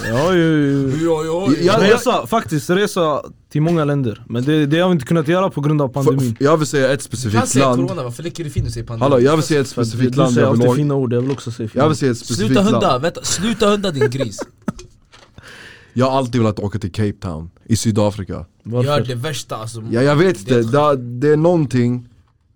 C: Jag har ju
B: Ja, ja,
A: Ja, ja.
C: resa, alltså, faktiskt resa till många länder Men det, det har vi inte kunnat göra på grund av pandemin
A: F- Jag vill säga ett
B: Han
A: specifikt
B: säger
A: land
B: corona, varför läcker du fin och säger pandemi?
A: Hallå jag vill säga ett
C: För att
A: specifikt
C: Du
A: land
C: säger
A: jag vill
C: alltid
A: åka
C: fina ord, jag vill också säga fina
A: Jag vill
C: ord
A: säga ett
B: Sluta
A: specifikt land
B: hunda, vänta, sluta hunda din gris!
A: Jag har alltid velat åka till Cape Town i Sydafrika
B: Gör
C: Varför?
B: det värsta alltså
A: Ja jag vet
B: Det är
A: det, det, det är någonting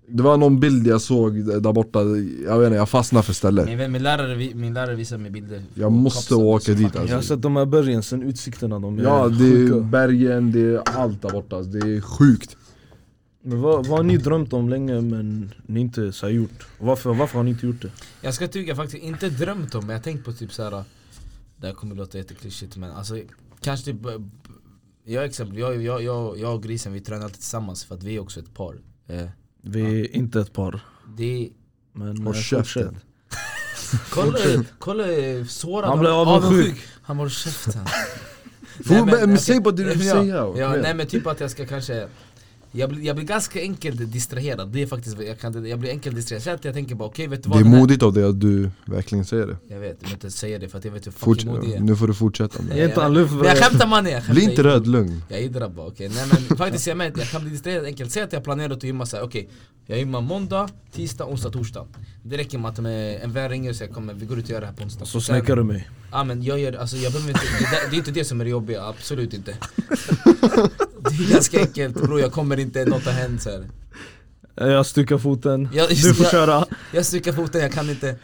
A: Det var någon bild jag såg där borta, jag vet inte, jag fastnade för stället
B: Min, vän, min, lärare, vi- min lärare visar mig bilder
A: Jag måste åka dit
C: Jag har
A: alltså
C: sett de här bergen sen utsikterna de är
A: Ja det är
C: sjuka.
A: bergen, det är allt där borta, alltså. det är sjukt
C: Men vad, vad har ni drömt om länge men ni inte så här gjort? Varför, varför har ni inte gjort det?
B: Jag ska tycka faktiskt, inte drömt om men jag har tänkt på typ såhär Det här kommer låta jätteklyschigt men alltså Kanske typ eh, Jag exempel, jag, jag, jag, jag och grisen vi tränar alltid tillsammans för att vi är också ett par eh,
C: Vi är inte ett par
B: Det är,
C: men
A: Och
C: eh,
A: käften.
C: fortsätt.
B: kolla, kolla eh, sårad
C: Han blev avundsjuk
B: Han var käften
A: Får- men- men
B: okej.
A: säg bara det du vill
B: Ja,
A: säga, kom
B: ja,
A: igen.
B: Nej men typ att jag ska kanske jag blir, jag blir ganska enkelt distraherad, det är faktiskt vad jag kan, jag blir enkelt distraherad, så att jag tänker bara okej vet du
A: Det
B: vad
A: är
B: den här-
A: modigt av dig att du verkligen säger det
B: Jag vet, jag vill inte säga det för att jag vet hur
A: Forts
B: fucking modig jag är
A: Nu får du fortsätta med det.
C: Ge inte han luft
B: Men jag skämtar mannen, jag skämtar
A: Bli inte rädd, lugn
B: Jag är drabbad, okej nej men faktiskt jag med, jag kan bli distraherad enkelt Säg att jag planerar att gymma såhär, okej Jag gymmar måndag, tisdag, onsdag, torsdag Det räcker med att med en vän ringer och säger kommer vi går ut och gör det här på onsdag Sen-
C: Så snäckar du mig
B: Ja men jag gör, alltså jag behöver inte, det, där- det är inte det som är det jobbiga, absolut inte Det är ganska enkelt bror, jag kommer inte, något har hänt såhär
C: Eh, Jag styckar foten,
B: Jag-
C: du får
B: jag-
C: köra
B: Jag stukar foten, jag kan inte eh,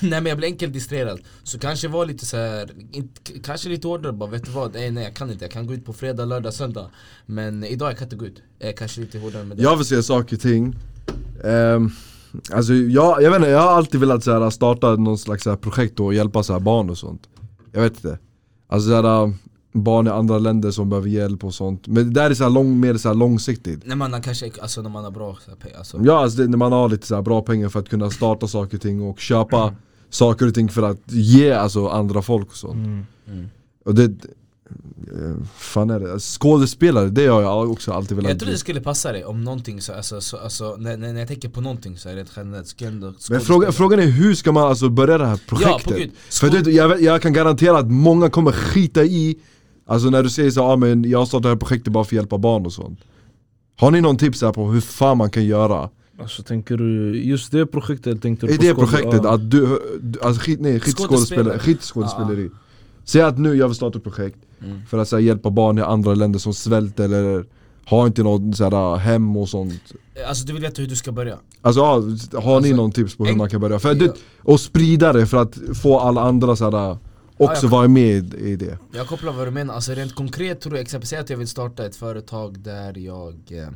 B: Nej men jag blir enkelt distraherad Så kanske var lite så här, inte- k- Kanske lite hårdare bara, vet du vad? Nej nej jag kan inte, jag kan gå ut på fredag, lördag, söndag Men idag jag kan inte gå ut eh, Kanske lite hårdare med det
A: Jag vill se saker och ting Ehm, Alltså jag, jag vet inte, jag har alltid velat så här, starta någon slags så här, projekt och hjälpa så här, barn och sånt Jag vet inte Alltså så här, barn i andra länder som behöver hjälp och sånt Men det där är så här, lång, mer så här, långsiktigt
B: När man har kanske, alltså när man har bra så här, pe- alltså,
A: Ja alltså det, när man har lite så här, bra pengar för att kunna starta saker och ting och köpa saker och ting för att ge alltså, andra folk och sånt
B: Mm.
A: Och det, eh, fan är det? Skådespelare, det har jag också alltid velat
B: Jag tror
A: bli.
B: det skulle passa dig om någonting så, alltså, så, alltså när, när när jag tänker på någonting så är det generellt skulle jag ändå
A: Men
B: skådespela.
A: frågan, frågan är hur ska man alltså börja det här projektet?
B: på Gud.
A: För du, vet, jag, vet- jag kan garantera att många kommer skita i Alltså när du säger så ah, men jag startar det här projektet bara för att hjälpa barn och sånt Har ni någon tips här på hur fan man kan göra?
C: Alltså tänker du, just det projektet tänkte du
A: I
C: på
A: det
C: skådespel-
A: projektet,
C: Ja.
A: att du, du alltså skit, nej, skit,
B: Skådespelare.
A: skådespelare, skit skådespeleri Säg att nu jag vill starta ett projekt för att så här, hjälpa barn i andra länder som svälter eller har inte något så här, äh, hem och sånt
B: Alltså du vill veta hur du ska börja?
A: Alltså ja, har ni
B: Alltså,
A: någon tips på hur
B: en-
A: man kan börja? För
B: ja.
A: det, och sprida det för att få alla andra så här, äh,
B: Ja,
A: också
B: jag-
A: vara med i det
B: Jag kopplar vad du menar, alltså rent konkret tror jag, exempelvis säg att jag vill starta ett företag där jag eh,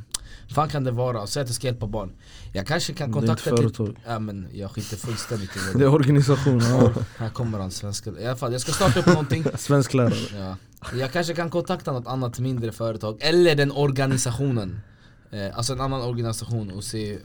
B: fan kan det vara? Säg att jag ska hjälpa barn. Jag kanske kan
C: Det är
B: kontakta
C: ett
B: ett litet-
C: företag.
B: Ja men jag skiter fullständigt i
A: alltså.
B: det.
C: Det är organisation, ja.
B: Här kommer han, svenska. I alla fall, jag ska starta upp någonting.
C: Svensk lärare.
B: Ja. Jag kanske kan kontakta något annat mindre företag, eller den organisationen. Eh, alltså en annan organisation och se...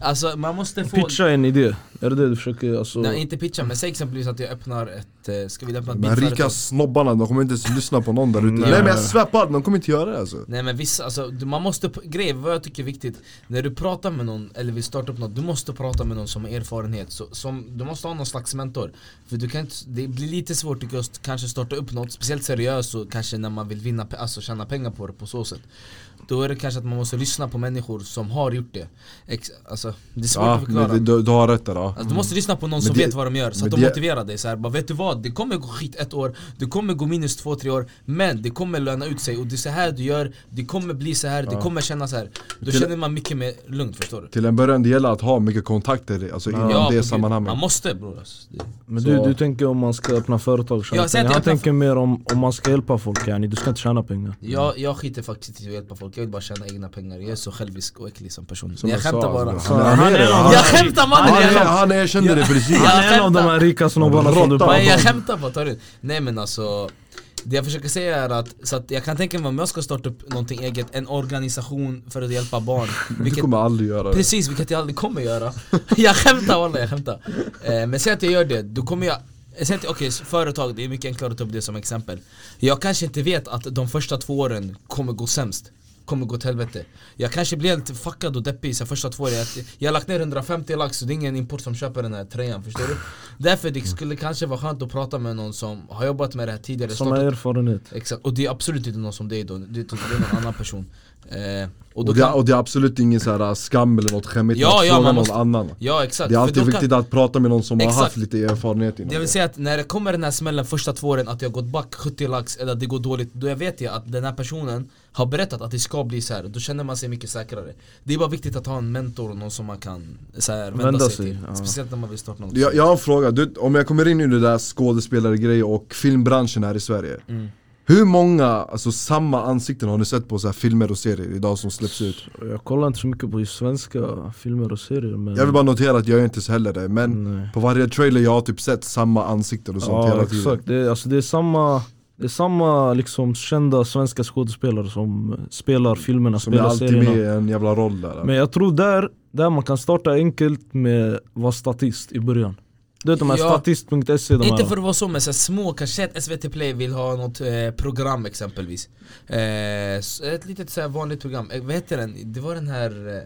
B: Alltså man måste få...
C: Pitcha en idé, är det det du försöker alltså?
B: Nej inte pitcha, men säg exempelvis att jag öppnar ett... eh, Ska vi öppna ett
A: De här rika
B: bilföretag?
A: snobbarna, de kommer inte ens lyssna på någon där ute
C: Nej.
A: Nej men jag svär på allt, de kommer inte göra det alltså
B: Nej men vissa, alltså du- man måste, p- grejen vad jag tycker är viktigt När du pratar med någon, eller vill starta upp något, du måste prata med någon som har erfarenhet så, som, Du måste ha någon slags mentor För du kan inte, det blir lite svårt tycker jag att kanske starta upp något Speciellt seriöst och kanske när man vill vinna, pe- alltså tjäna pengar på det på så sätt Då är det kanske att man måste lyssna på människor som har gjort det Ex, Alltså det är svårt
A: Ja,
B: att förklara
A: men det, du, du har rätt där ja.
B: Alltså, du måste lyssna på någon som
A: Men det-
B: vet vad de gör, så
A: men
B: att de
A: det-
B: motiverar dig så här, bara vet du vad? Det kommer gå skit ett år, det kommer gå minus två, tre år Men det kommer löna ut sig och det är så här du gör, det kommer bli så här, det kommer kännas så här Då
A: Till-
B: känner man mycket mer lugnt förstår du?
A: Till en början det gäller att ha mycket kontakter alltså, inom
B: på
A: det
B: gud.
A: sammanhanget Mm.
B: Man måste bror alltså. Det-
C: Men du,
A: Så-
C: du tänker om man ska öppna företag tjäna
B: Ja, säg att
C: pengar.
B: jag
C: Han
B: öppnar-
C: tänker mer om, om man ska hjälpa folk yani, du ska inte tjäna pengar
B: Jag, jag skiter faktiskt i att hjälpa folk, jag vill bara tjäna egna pengar Jag är så självisk och äcklig som person
A: Som
B: Jag
A: jag sa,
B: skämtar bara
A: alltså. Han är det,
C: en av-
A: han-
B: Jag skämtar mannen!
A: Han,
B: jag
A: är,
B: skämtar.
A: han erkände det precis
B: Ja.
C: Han är en av de här rika snobbarna som du
A: Råtta.
C: pratar
B: Nej jag
C: om
B: skämtar bara, ta det Nej men alltså Det jag försöker säga är att, så att jag kan tänka mig om jag ska starta upp någonting eget, en organisation för att hjälpa barn
A: Du
B: vilket,
A: kommer aldrig göra det
B: Precis, vilket jag aldrig kommer göra Jag skämtar wallah, jag skämtar eh, Men säg att jag gör det, då kommer jag eh, Säg att, okej, företag, det är mycket enklare att ta upp det som exempel Jag kanske inte vet att de första två åren kommer gå sämst Kommer gå till helvete Jag kanske blir helt fuckad och deppig så här första två åren Jag- Jag har lagt ner 150 lax och det är ingen import som köper den här tröjan, förstår du? Därför det skulle kanske vara skönt att prata med någon som har jobbat med det här tidigare
C: Som har
B: startat-
C: erfarenhet
B: Exakt, och det är absolut inte någon som dig då, det är det är någon annan person eh,
A: och,
B: då
A: det,
B: kan-
A: och det är absolut ingen så här äh, skam eller något skämmigt
B: Ja,
A: att
B: ja,
A: fråga
B: man
A: någon
B: måste-
A: annan
B: Ja exakt,
A: Det är
B: för
A: alltid
B: då kan-
A: viktigt att prata med någon som har
B: Exakt.
A: haft lite erfarenhet inom
B: Jag vill
A: det
B: säga att när det kommer den här smällen första två åren att jag gått back 70 lax eller att det går dåligt Då jag vet jag att den här personen har berättat att det ska bli så här. Då känner man sig mycket säkrare Det är bara viktigt att ha en mentor och någon som man kan så här, vända,
C: Vända
B: sig
C: sig,
B: till
C: ja.
B: Speciellt när man vill starta något
A: jag, jag har en fråga, du, om jag kommer in i det där skådespelaregrejen och filmbranschen här i Sverige
B: Mm.
A: Hur många, alltså samma ansikten har ni sett på så här filmer och serier idag som släpps ut?
B: Mm.
C: Jag kollar inte så mycket på just svenska filmer och serier men
A: Jag vill bara notera att jag är inte så heller det, men
C: Nej.
A: på varje trailer jag har typ sett samma ansikten och sånt
C: Ja
A: hela tiden
C: exakt, det är, alltså, det är samma det är samma liksom kända svenska skådespelare som spelar filmerna,
A: Som är
C: spelar
A: alltid
C: serierna
A: med i en jävla roll där
C: Men jag tror där, där man kan starta enkelt med att vara statist i början Du vet de här
B: Ja.
C: statist.se de
B: Inte
C: här
B: för att vara så men så här, små, kanske ett SVT play vill ha något eh, program exempelvis eh, s- Ett litet så här, vanligt program, eh, vad heter den? Det var den här eh,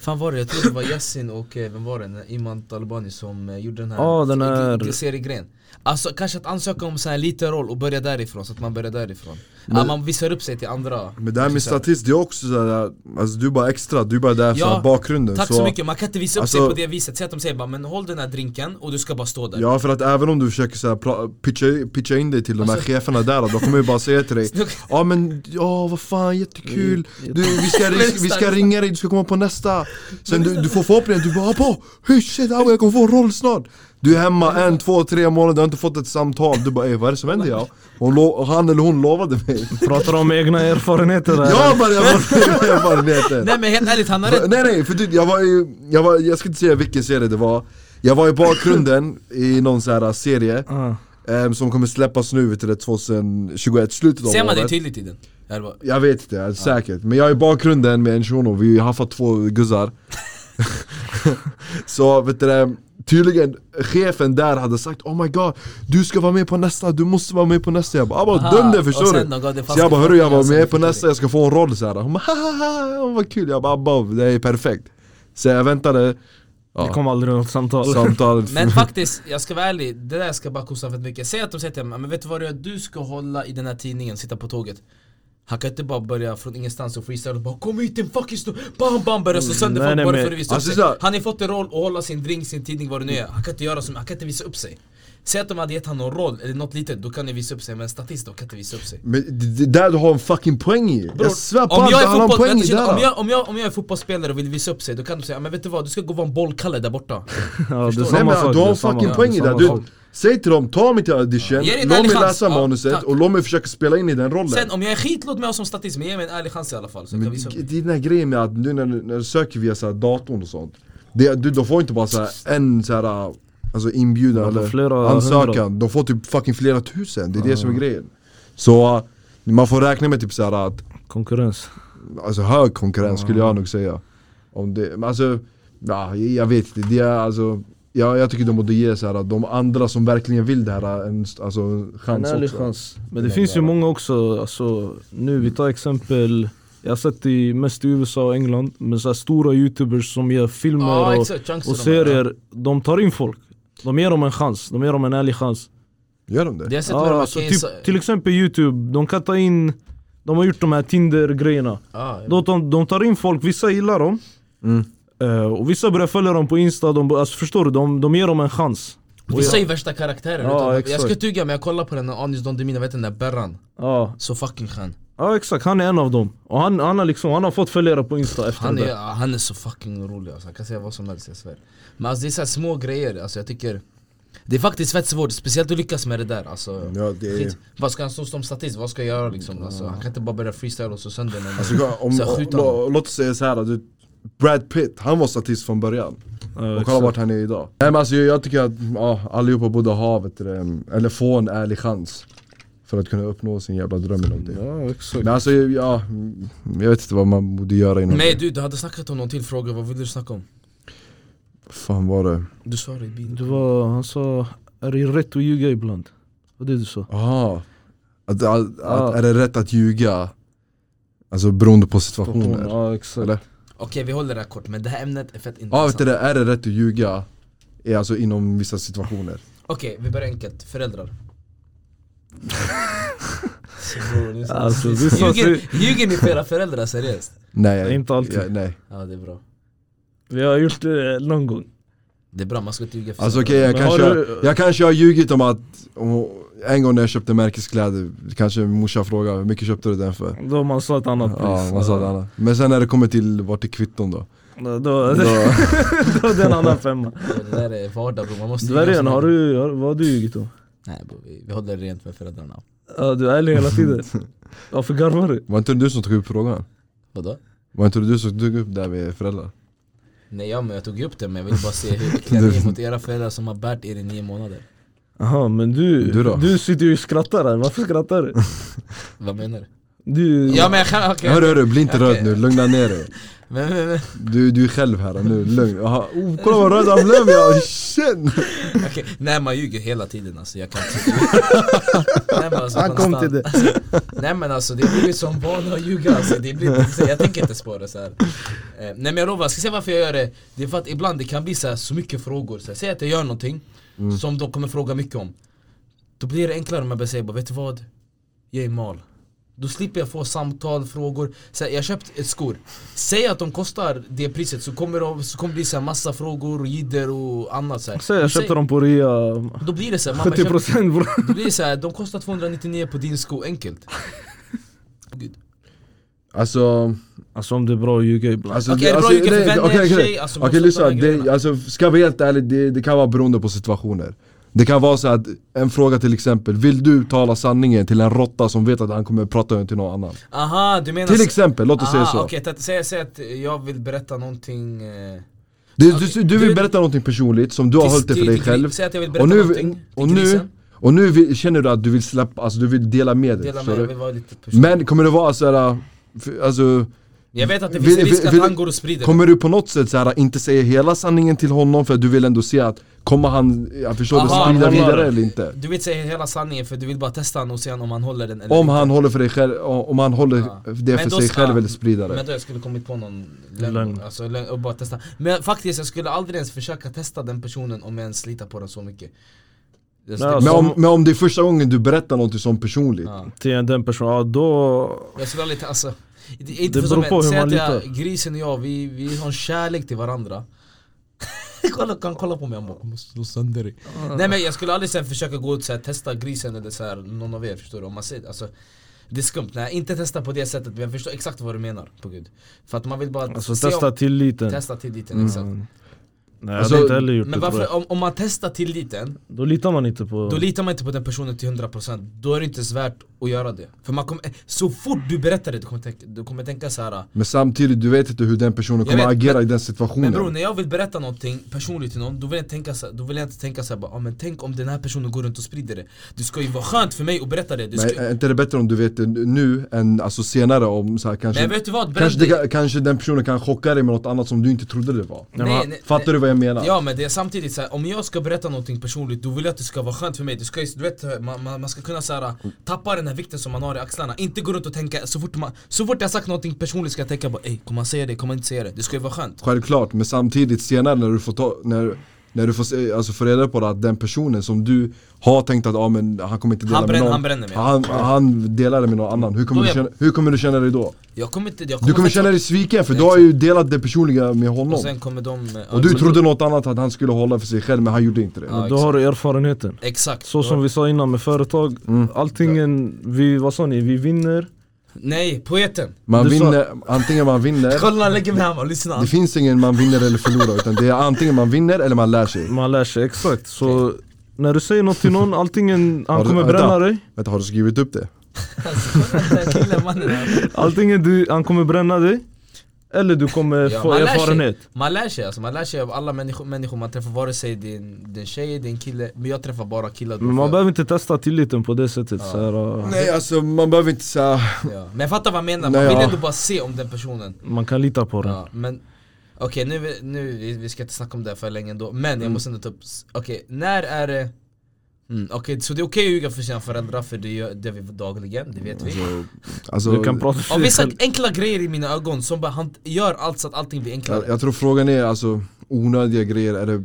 B: Fan var det? Jag tror det var Yasin och eh, vem var det? Den här Iman Talabani som eh, gjorde den här
C: Ja, den här-
B: g- g- seriegren Alltså kanske att ansöka om så här liten roll och börja därifrån så att man börjar därifrån ja, Man visar upp sig till andra
A: Men det här med statist, det är också såhär, alltså du är bara extra, du är bara där för
B: Ja,
A: att bakgrunden
B: Tack så, mycket, man kan inte visa upp sig
A: Alltså-
B: på det viset Säg att de säger bara men håll den här drinken och du ska bara stå där
A: Ja för att även om du försöker så här, pra- pitcha, pitcha in dig till de här cheferna där då kommer jag bara säga till dig
B: Snok-
A: Ja men, ja vad fan jättekul, du, vi, ska, ri- vi ska ringa dig, du ska komma på nästa Sen du, du får förhoppningen, du bara "Ah, på, hur shit au, jag kommer få en roll snart Du är hemma en, två, tre månader, du har inte fått ett samtal, du bara "Ey, vad är det som händer ja? Hon lo- han eller hon lovade mig
C: Pratar om egna erfarenheter där
A: Jag bara, jag var jag var neten
B: Nej men helt ärligt, han har rätt
A: Nej nej, för du, jag var ju, jag, var, jag ska inte säga vilken serie det var Jag var i bakgrunden i någon sån här serie
C: Ah.
A: Ehm, som kommer släppas nu vet du, det, 2021, slutet av
B: Ser man det
A: året.
B: tydligt i den? Ja, det var-
A: Jag vet inte, jag är säkert. Men jag är i bakgrunden med en shuno, vi har haft två guzzar Så vet du det, tydligen chefen där hade sagt Oh my god, du ska vara med på nästa, du måste vara med på nästa Jag bara, "Ah, bara
B: Aha,
A: döm det
B: och
A: förstår
B: sen
A: du
B: de gav det
A: Så jag
B: fast alltså,
A: bara hörru jag var
B: förhoppningar
A: med
B: som
A: på
B: fick
A: nästa, jag ska få en roll såhär Hon bara haha, vad kul, jag bara "Abba, det är perfekt Så jag väntade,
C: Det kom aldrig något samtal
A: samtalet
B: Men faktiskt, jag ska vara ärlig, det där ska bara kosta för mycket Säg att de säger till mig, men vet du vad du gör? Du ska hålla i den här tidningen, sitta på tåget Han kan inte bara börja från ingenstans och freestyla och bara Kom hit din fucking stor... Bam bam börja slå sönder
C: Nej,
B: folk
C: nej,
B: bara
C: men-
B: för att visa upp
A: Alltså,
B: sig
A: så-
B: Han har fått en roll att hålla sin drink, sin tidning, vad det nu är Han kan inte göra som, han kan inte visa upp sig Säg att de hade gett han någon roll eller något litet, då kan ni visa upp sig Men en statist, då kan inte visa upp sig
A: Men det, det där du har en fucking poäng i!
B: Bror,
A: jag svär på
B: om
A: allt,
B: jag,
A: du
B: är
A: har en
B: fotboll,
A: poäng i
B: vänta,
A: det
B: tjena, om,
A: här.
B: jag, om, jag, om jag är fotbollsspelare och vill visa upp sig, då kan de säga men vet du vad, du ska gå och vara en bollkalle där borta
C: Ja, det är
A: Nej
C: samma
A: men
C: sak
A: du
C: det
A: har
C: är
A: en
C: samma-
A: fucking poäng i
C: samma
A: det, du,
C: sak.
A: Säg till dem, ta mig till audition,
B: Ge dig en
A: låt
B: ärlig
A: mig
B: chans.
A: läsa
B: Ja,
A: manuset
B: tack.
A: och låt mig försöka spela in i den rollen
B: Sen om jag är skit, låt mig ha som statist, men ge mig en ärlig chans i alla fall. Så kan
A: Men
B: vi se.
A: det det är den här grejen med att nu när, du- när du söker via så här datorn och sånt det, du, De får inte bara så här en så här, alltså inbjudan
C: De får
A: eller
C: flera
A: ansökan
C: hundra.
A: De får typ fucking flera tusen, det är det som är grejen Så uh, man får räkna med typ så här att,
C: Konkurrens.
A: alltså hög konkurrens skulle jag nog säga Om det, men alltså, ja, jag- jag vet inte, det är alltså jag, jag tycker de borde ge så här, att de andra som verkligen vill det här en st- alltså, en
C: En
A: chans
C: ärlig
A: också
C: chans. Men det finns ju många också, alltså, nu vi tar exempel jag har sett i, mest i USA och England, men så här stora youtubers som gör filmer
B: Ja,
C: och,
B: exakt, chansen
C: och
B: de har.
C: serier, de tar in folk. De ger dem en chans, de ger dem en ärlig chans.
A: Gör de det?
B: Det har jag sett med de
C: Ja,
B: här
C: alltså,
B: case...
C: typ, till exempel youtube, de kan ta in, de har gjort de här Tinder-grejerna.
B: Ja, ja.
C: De, de, de tar in folk, vissa gillar dem
A: Mm.
C: Eh, och vissa börjar följa dem på insta, de, bör- alltså, förstår du? De, de ger dem en chans.
B: Vissa är ju värsta karaktärer.
C: Ja,
B: utan, jag
C: exakt.
B: ska tyga men jag kollar på den här Anis Don Demina, vet du, den där Berran.
C: Ja,
B: Så fucking skön.
C: ja exakt, han är en av dem. Och han, han, har liksom, han har fått följare på insta efter
B: Han
C: det.
B: är, ja, han är så fucking rolig alltså. han kan säga vad som helst jag svär Men alltså, det är så här små grejer, alltså, jag tycker Det är faktiskt fett svårt, speciellt att lyckas med det där alltså.
A: Ja, det är-
B: Skit. Vad ska han stå som statist, vad ska jag göra liksom? Alltså, han kan inte bara börja freestyla och så sönder någon
A: Alltså, om, om,
B: Så här, skjuta
A: lå-
B: honom.
A: låt oss säga såhär, du, Brad Pitt, han var statist från början
C: Ja,
A: Och kolla
C: exakt.
A: vart han är idag Nej men alltså jag, jag tycker att ja, allihopa borde ha, vet du, det, eller få en ärlig chans För att kunna uppnå sin jävla dröm eller någonting
C: Ja, exakt.
A: Men alltså ja, mm, jag vet inte vad man borde göra inom
B: Nej du, du hade snackat om någon till fråga, vad ville du snacka om?
A: Vad fan var det?
B: Du sa det i bilen
C: Det var, han sa, är det rätt att ljuga ibland? Vad det du sa?
A: Aha. Att, att, att,
C: Ja.
A: är det rätt att ljuga? Alltså beroende på situationer? Ja
C: Ja, exakt.
A: Eller?
B: Okej vi håller det här kort, men det här ämnet är fett
A: vet
B: intressant
A: du det, är det rätt att ljuga? Är alltså inom vissa situationer
B: Okej, vi börjar enkelt, föräldrar
C: Alltså, det sa sig,
B: Ljuger, ljuger ni för era föräldrar seriöst?
A: Nej, jag-
C: Inte alltid.
A: jag, nej
B: Ja det är bra
C: vi har gjort det någon gång.
B: Det är bra, man ska inte ljuga för
A: Alltså
B: sig.
A: okej, jag,
C: Men
A: kanske,
C: har du-
A: jag kanske har ljugit om att om, en gång när jag köpte märkeskläder, kanske morsan frågade hur mycket köpte du den för?
C: Då man sa ett annat pris.
A: Ja, man sa det annat. Men sen när det kommer till vart är kvitton då?
C: Då, då,
A: då
C: då är det en annan femma.
B: Det där är vardag bror, man måste
C: Dvärgen,
B: ljuga.
C: har du, har, vad har du ljugit om?
B: Nej bror, vi, vi håller rent med föräldrarna
C: Ja, du är ärlig hela tiden. Varför garvar du?
A: var inte det du som tog upp frågan?
B: Vadå?
A: Var inte det du som tog upp det här med föräldrar?
B: Nej ja, men jag tog upp det men jag vill bara se hur äckliga
A: Du-
B: ni är mot era föräldrar som har bärt er i nio månader
C: Jaha men du,
A: Du då?
C: du, sitter ju och skrattar här, varför skrattar du?
B: Vad menar du?
C: Du,
B: Ja men jag kan, okej
A: Hörru hörru, bli inte
B: Okej.
A: röd nu, lugna ner dig.
B: men, men, men,
A: Du, du är själv här nu, lugn. Aha, oh, kolla vad röd han blev, jag känner!
B: okej. Nej man ljuger hela tiden alltså, jag kan inte Nej, men alltså,
C: Han kom
B: konstant.
C: till det.
B: Nej men alltså det blir ju som barn att ljuga alltså, det blir, så jag tänker inte spåra så här. Eh, Nej men jag lovar, jag ska säga varför jag gör det Det är för att ibland det kan bli så, här, så mycket frågor, så här, säg att jag gör någonting
C: Mm.
B: som de kommer fråga mycket om Då blir det enklare om jag bara säger bara, vet du vad? Jag är mal Då slipper jag få samtal, frågor så här, Jag har köpt ett skor Säg att de kostar det priset så kommer, de, så kommer det bli så här massa frågor och jidder och annat så här.
C: Säg jag
B: Säg-
C: köpte dem på rea,
B: Då blir det så här, mamma, jag köpte-
C: 70% bror
B: då blir det så här, de kostar 299 på din sko enkelt Gud.
A: Alltså,
C: Alltså om det är bra att ljuga ibland
A: alltså,
B: Okej, är det bra
A: alltså,
B: att ljuga för
A: nej,
B: vänner,
A: okej, okej.
B: tjej? Alltså, man
A: Okej
B: måste ta
A: lyssna,
B: de här grejerna.
A: det, alltså, ska jag vara helt ärlig, det, det kan vara beroende på situationer Det kan vara så att, en fråga till exempel, vill du tala sanningen till en råtta som vet att han kommer prata till någon annan?
B: Aha, du menar
A: Till exempel, låt oss säga så
B: alltså- Ah, Okej, okay, säg, säg att jag vill berätta någonting eh,
A: du,
B: okej.
A: du, du vill
B: Du-
A: berätta någonting personligt som du har hållit det för dig
B: gri-
A: själv
B: Säg att jag vill berätta
A: Och nu,
B: någonting
A: och
B: till
A: nu,
B: grisen
A: och nu vill, känner du att du vill släppa, alltså du vill dela med dig
B: Dela
A: förstår
B: med, jag
A: du?
B: vill vara lite personlig
A: Men kommer det vara såhär, alltså
B: Jag vet att det
A: Vill-
B: finns en
A: vill-
B: risk att
A: vill-
B: han går och sprider
A: Kommer du på något sätt så här, inte säga hela sanningen till honom för att du vill ändå se att Kommer han, jag förstår det,
B: Aha,
A: sprida
B: han
C: håller.
A: vidare eller inte?
B: det Du vill säga hela sanningen för du vill bara testa honom och se om han håller den eller
A: Om
B: inte.
A: han håller för, dig själv, om han håller
B: Ja.
A: det
B: Men
A: för
B: då
A: sig
B: ska-
A: själv eller sprider det
B: Men då jag skulle kommit på någon lögn,
C: Lögn.
B: Alltså, lögn och bara testa Men faktiskt jag skulle aldrig ens försöka testa den personen om jag ens litar på den så mycket Alltså,
C: Nej,
B: det-
A: men,
C: alltså-
A: om, men om det är första gången du berättar något sånt personligt
B: Ja.
C: Till den personen, ja då...
B: Jag skulle aldrig, ta- alltså, det, inte
C: Det
B: för som
C: beror på
B: en-
C: hur
B: säg
C: man
B: att jag,
C: litar.
B: Grisen och jag, vi, vi har en kärlek till varandra kolla, kan kolla på mig han bara "Jag måste slå sönder dig Nej men jag skulle aldrig sen försöka gå ut och testa grisen eller så här, någon av er förstår du? Om man ser, alltså, det är skumt, nej inte testa på det sättet men jag förstår exakt vad du menar på gud För att man vill bara
C: Alltså
B: se om-
C: testa tilliten
B: testa tilliten exakt
C: Nej
A: Alltså,
C: jag hade inte heller gjort
B: Men
C: det tror jag. Mm.
B: varför, om, om man testar tilliten,
C: Då litar man inte på...
B: då litar man inte på den personen till 100% Då är det inte ens värt att göra det För man kommer, så fort du berättar det, du kommer tänka, du kommer tänka så här.
A: Men samtidigt, du vet inte hur den personen
B: Jag
A: kommer
B: vet,
A: agera
B: men-
A: i den situationen
B: Men bror, när jag vill berätta någonting personligt till någon, då vill jag inte tänka så, då vill jag inte tänka så här, bara, ah, men tänk om den här personen går runt och sprider det Det ska ju vara skönt för mig att berätta det, det ska,
A: Men eh, är inte det bättre om du vet det nu än alltså senare om så här, kanske
B: Men vet du vad?
A: Kanske,
B: Bränn
A: det,
B: dig.
A: kan- kanske den personen kan chocka dig med något annat som du inte trodde det var
C: Nej, men-
A: Fattar du vad jag menar?
B: Ja men det är samtidigt så här, om jag ska berätta någonting personligt då vill jag att det ska vara skönt för mig det ska, ju- du vet, eh, man, man, man ska kunna så här, eh, tappa den här vikten som man har i axlarna Inte gå runt och tänka, så fort, man, så fort jag har sagt någonting personligt ska jag tänka bara Ey, kommer han säga det, kommer han inte säga det? Det ska ju vara skönt
A: Självklart, men samtidigt senare när du får ta, när, när du får se, alltså få reda på det, att den personen som du har tänkt att ah, men han kommer inte dela
B: Han
A: med
B: bränner-
A: någon
B: han bränner mig.
A: Han, han delar det med någon annan, hur kommer,
B: Då
A: du
B: är jag-
A: känna, hur kommer du känna dig då?
B: Jag kommer inte, jag
A: Du kommer känna dig sviken för du har ju delat det personliga med
B: Och
A: honom
B: sen kommer de... eh,
A: Och du
B: ja,
A: trodde något annat att han skulle hålla för sig själv men han gjorde inte det
B: Ja,
C: Då har du erfarenheten.
B: Exakt
C: Så som vi sa innan med företag,
A: Mm.
C: allting, en- vi, vad sa ni, vi vinner
B: Nej, poeten!
A: Man
C: Du sa-
A: vinner, antingen man vinner
B: Kolla han lägger mig hemma, lyssna
A: Det finns ingen man vinner eller förlorar utan det är antingen man vinner eller man lär sig
C: Man lär sig, exakt. Så när du säger något till någon, antingen
A: Har
C: han
A: du-
C: kommer
A: vänta.
C: bränna dig,
A: Vänta, har du skrivit upp det?
B: Alltså, kolla den här killen, mannen.
C: antingen du, han kommer bränna dig, eller du kommer
B: Ja,
C: få
B: man lär sig.
C: erfarenhet.
B: Man lär sig alltså, man lär sig av alla människor, människor man träffar vare sig det är en, det är en tjej, det är en kille Men jag träffar bara killar då,
C: Men
B: för
C: man
B: jag-
C: behöver inte testa tilliten på det sättet.
B: Ja.
C: Så här, och-
A: Nej alltså man behöver inte säga
B: Ja. Men jag fattar vad jag menar, man
A: Nej,
B: vill
A: ja.
B: ändå bara se om den personen
C: man kan lita på den.
B: ja, Men okej nu, vi- nu, vi, vi ska inte snacka om det här för länge ändå Men
A: Mm.
B: jag måste ändå ta upp, s- okej när är det Mm, Okej, så det är okej att ljuga för sina föräldrar för det gör det vi dagligen, det vet vi
A: alltså,
C: Du kan prata
B: Av
C: för dig
B: vissa
C: själv.
B: enkla grejer i mina ögon som bara han gör allt så att allting blir
A: jag,
B: enklare
A: jag tror frågan är alltså onödiga grejer, är det,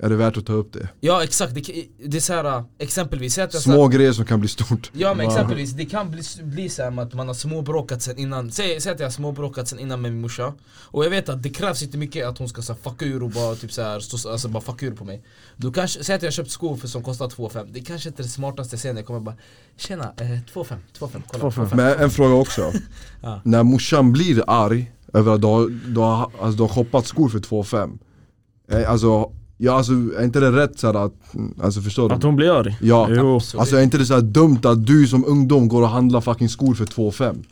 A: är det värt att ta upp det?
B: Ja exakt, det, kan- det är såhär exempelvis, säg att jag
A: Små grejer som kan bli stort
B: Ja men exempelvis, det kan bli, bli så här med att man har småbråkat sen innan Säg, säg att jag har småbråkat sen innan med min morsa Och jag vet att det krävs inte mycket att hon ska så här, fucka ur och bara typ så här, stå, alltså, bara fucka ur på mig Då kanske, säg att jag har köpt skor för, som kostar 2,5 Det kanske inte är det smartaste sen jag kommer bara Tjena, eh, 2,5, 2,5, kolla
C: 2,5.
B: 2,5
A: Men en fråga också
B: Ja.
A: När morsan blir arg över att du har, du har, alltså, du har shoppat skor för 2,5 Eh, Alltså, ja, alltså är inte det rätt såhär att, alltså förstår du?
C: Att hon blir arg?
A: Ja.
C: Jo.
B: Så
A: Alltså
B: det-
A: är inte det så här dumt att du som ungdom går och handlar fucking skor för 2,5?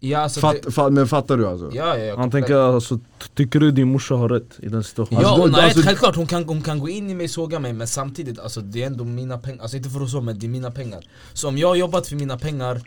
B: Ja alltså
A: Fatt,
B: det,
A: fatt, men fattar du alltså?
B: ja, ja, jag
C: Han tänker alltså, ty- tycker du din morsa har rätt i den situationen?
B: Ja,
A: Alltså,
B: och
A: då-
B: nej,
A: alltså-
B: självklart hon kan, hon kan gå in i mig, såga mig men samtidigt, alltså, det är ändå mina pengar, alltså inte för att så men det är mina pengar Så om jag har jobbat för mina pengar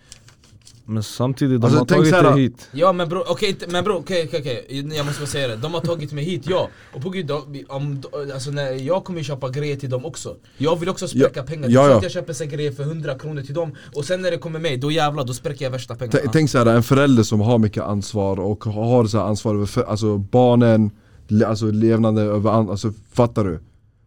C: Men samtidigt, de
A: Alltså,
C: har
A: tänk
C: tagit
A: så här-
C: dig hit.
B: Ja men bror, okej inte- men bror, okej okej okej, jag måste bara säga det, de har tagit mig hit ja, och på gud, de- om, alltså, när jag kommer ju köpa grejer till dem också Jag vill också spräcka
A: Ja,
B: pengar,
A: ja,
B: det är så
A: ja.
B: att jag köper sig grejer för 100 kronor till dem och sen när det kommer mig, då jävlar då spräcker jag värsta pengarna
A: T- Tänk såhär, en förälder som har mycket ansvar och har så här ansvar över för, alltså barnen, le, alltså levnaden över an- alltså fattar du?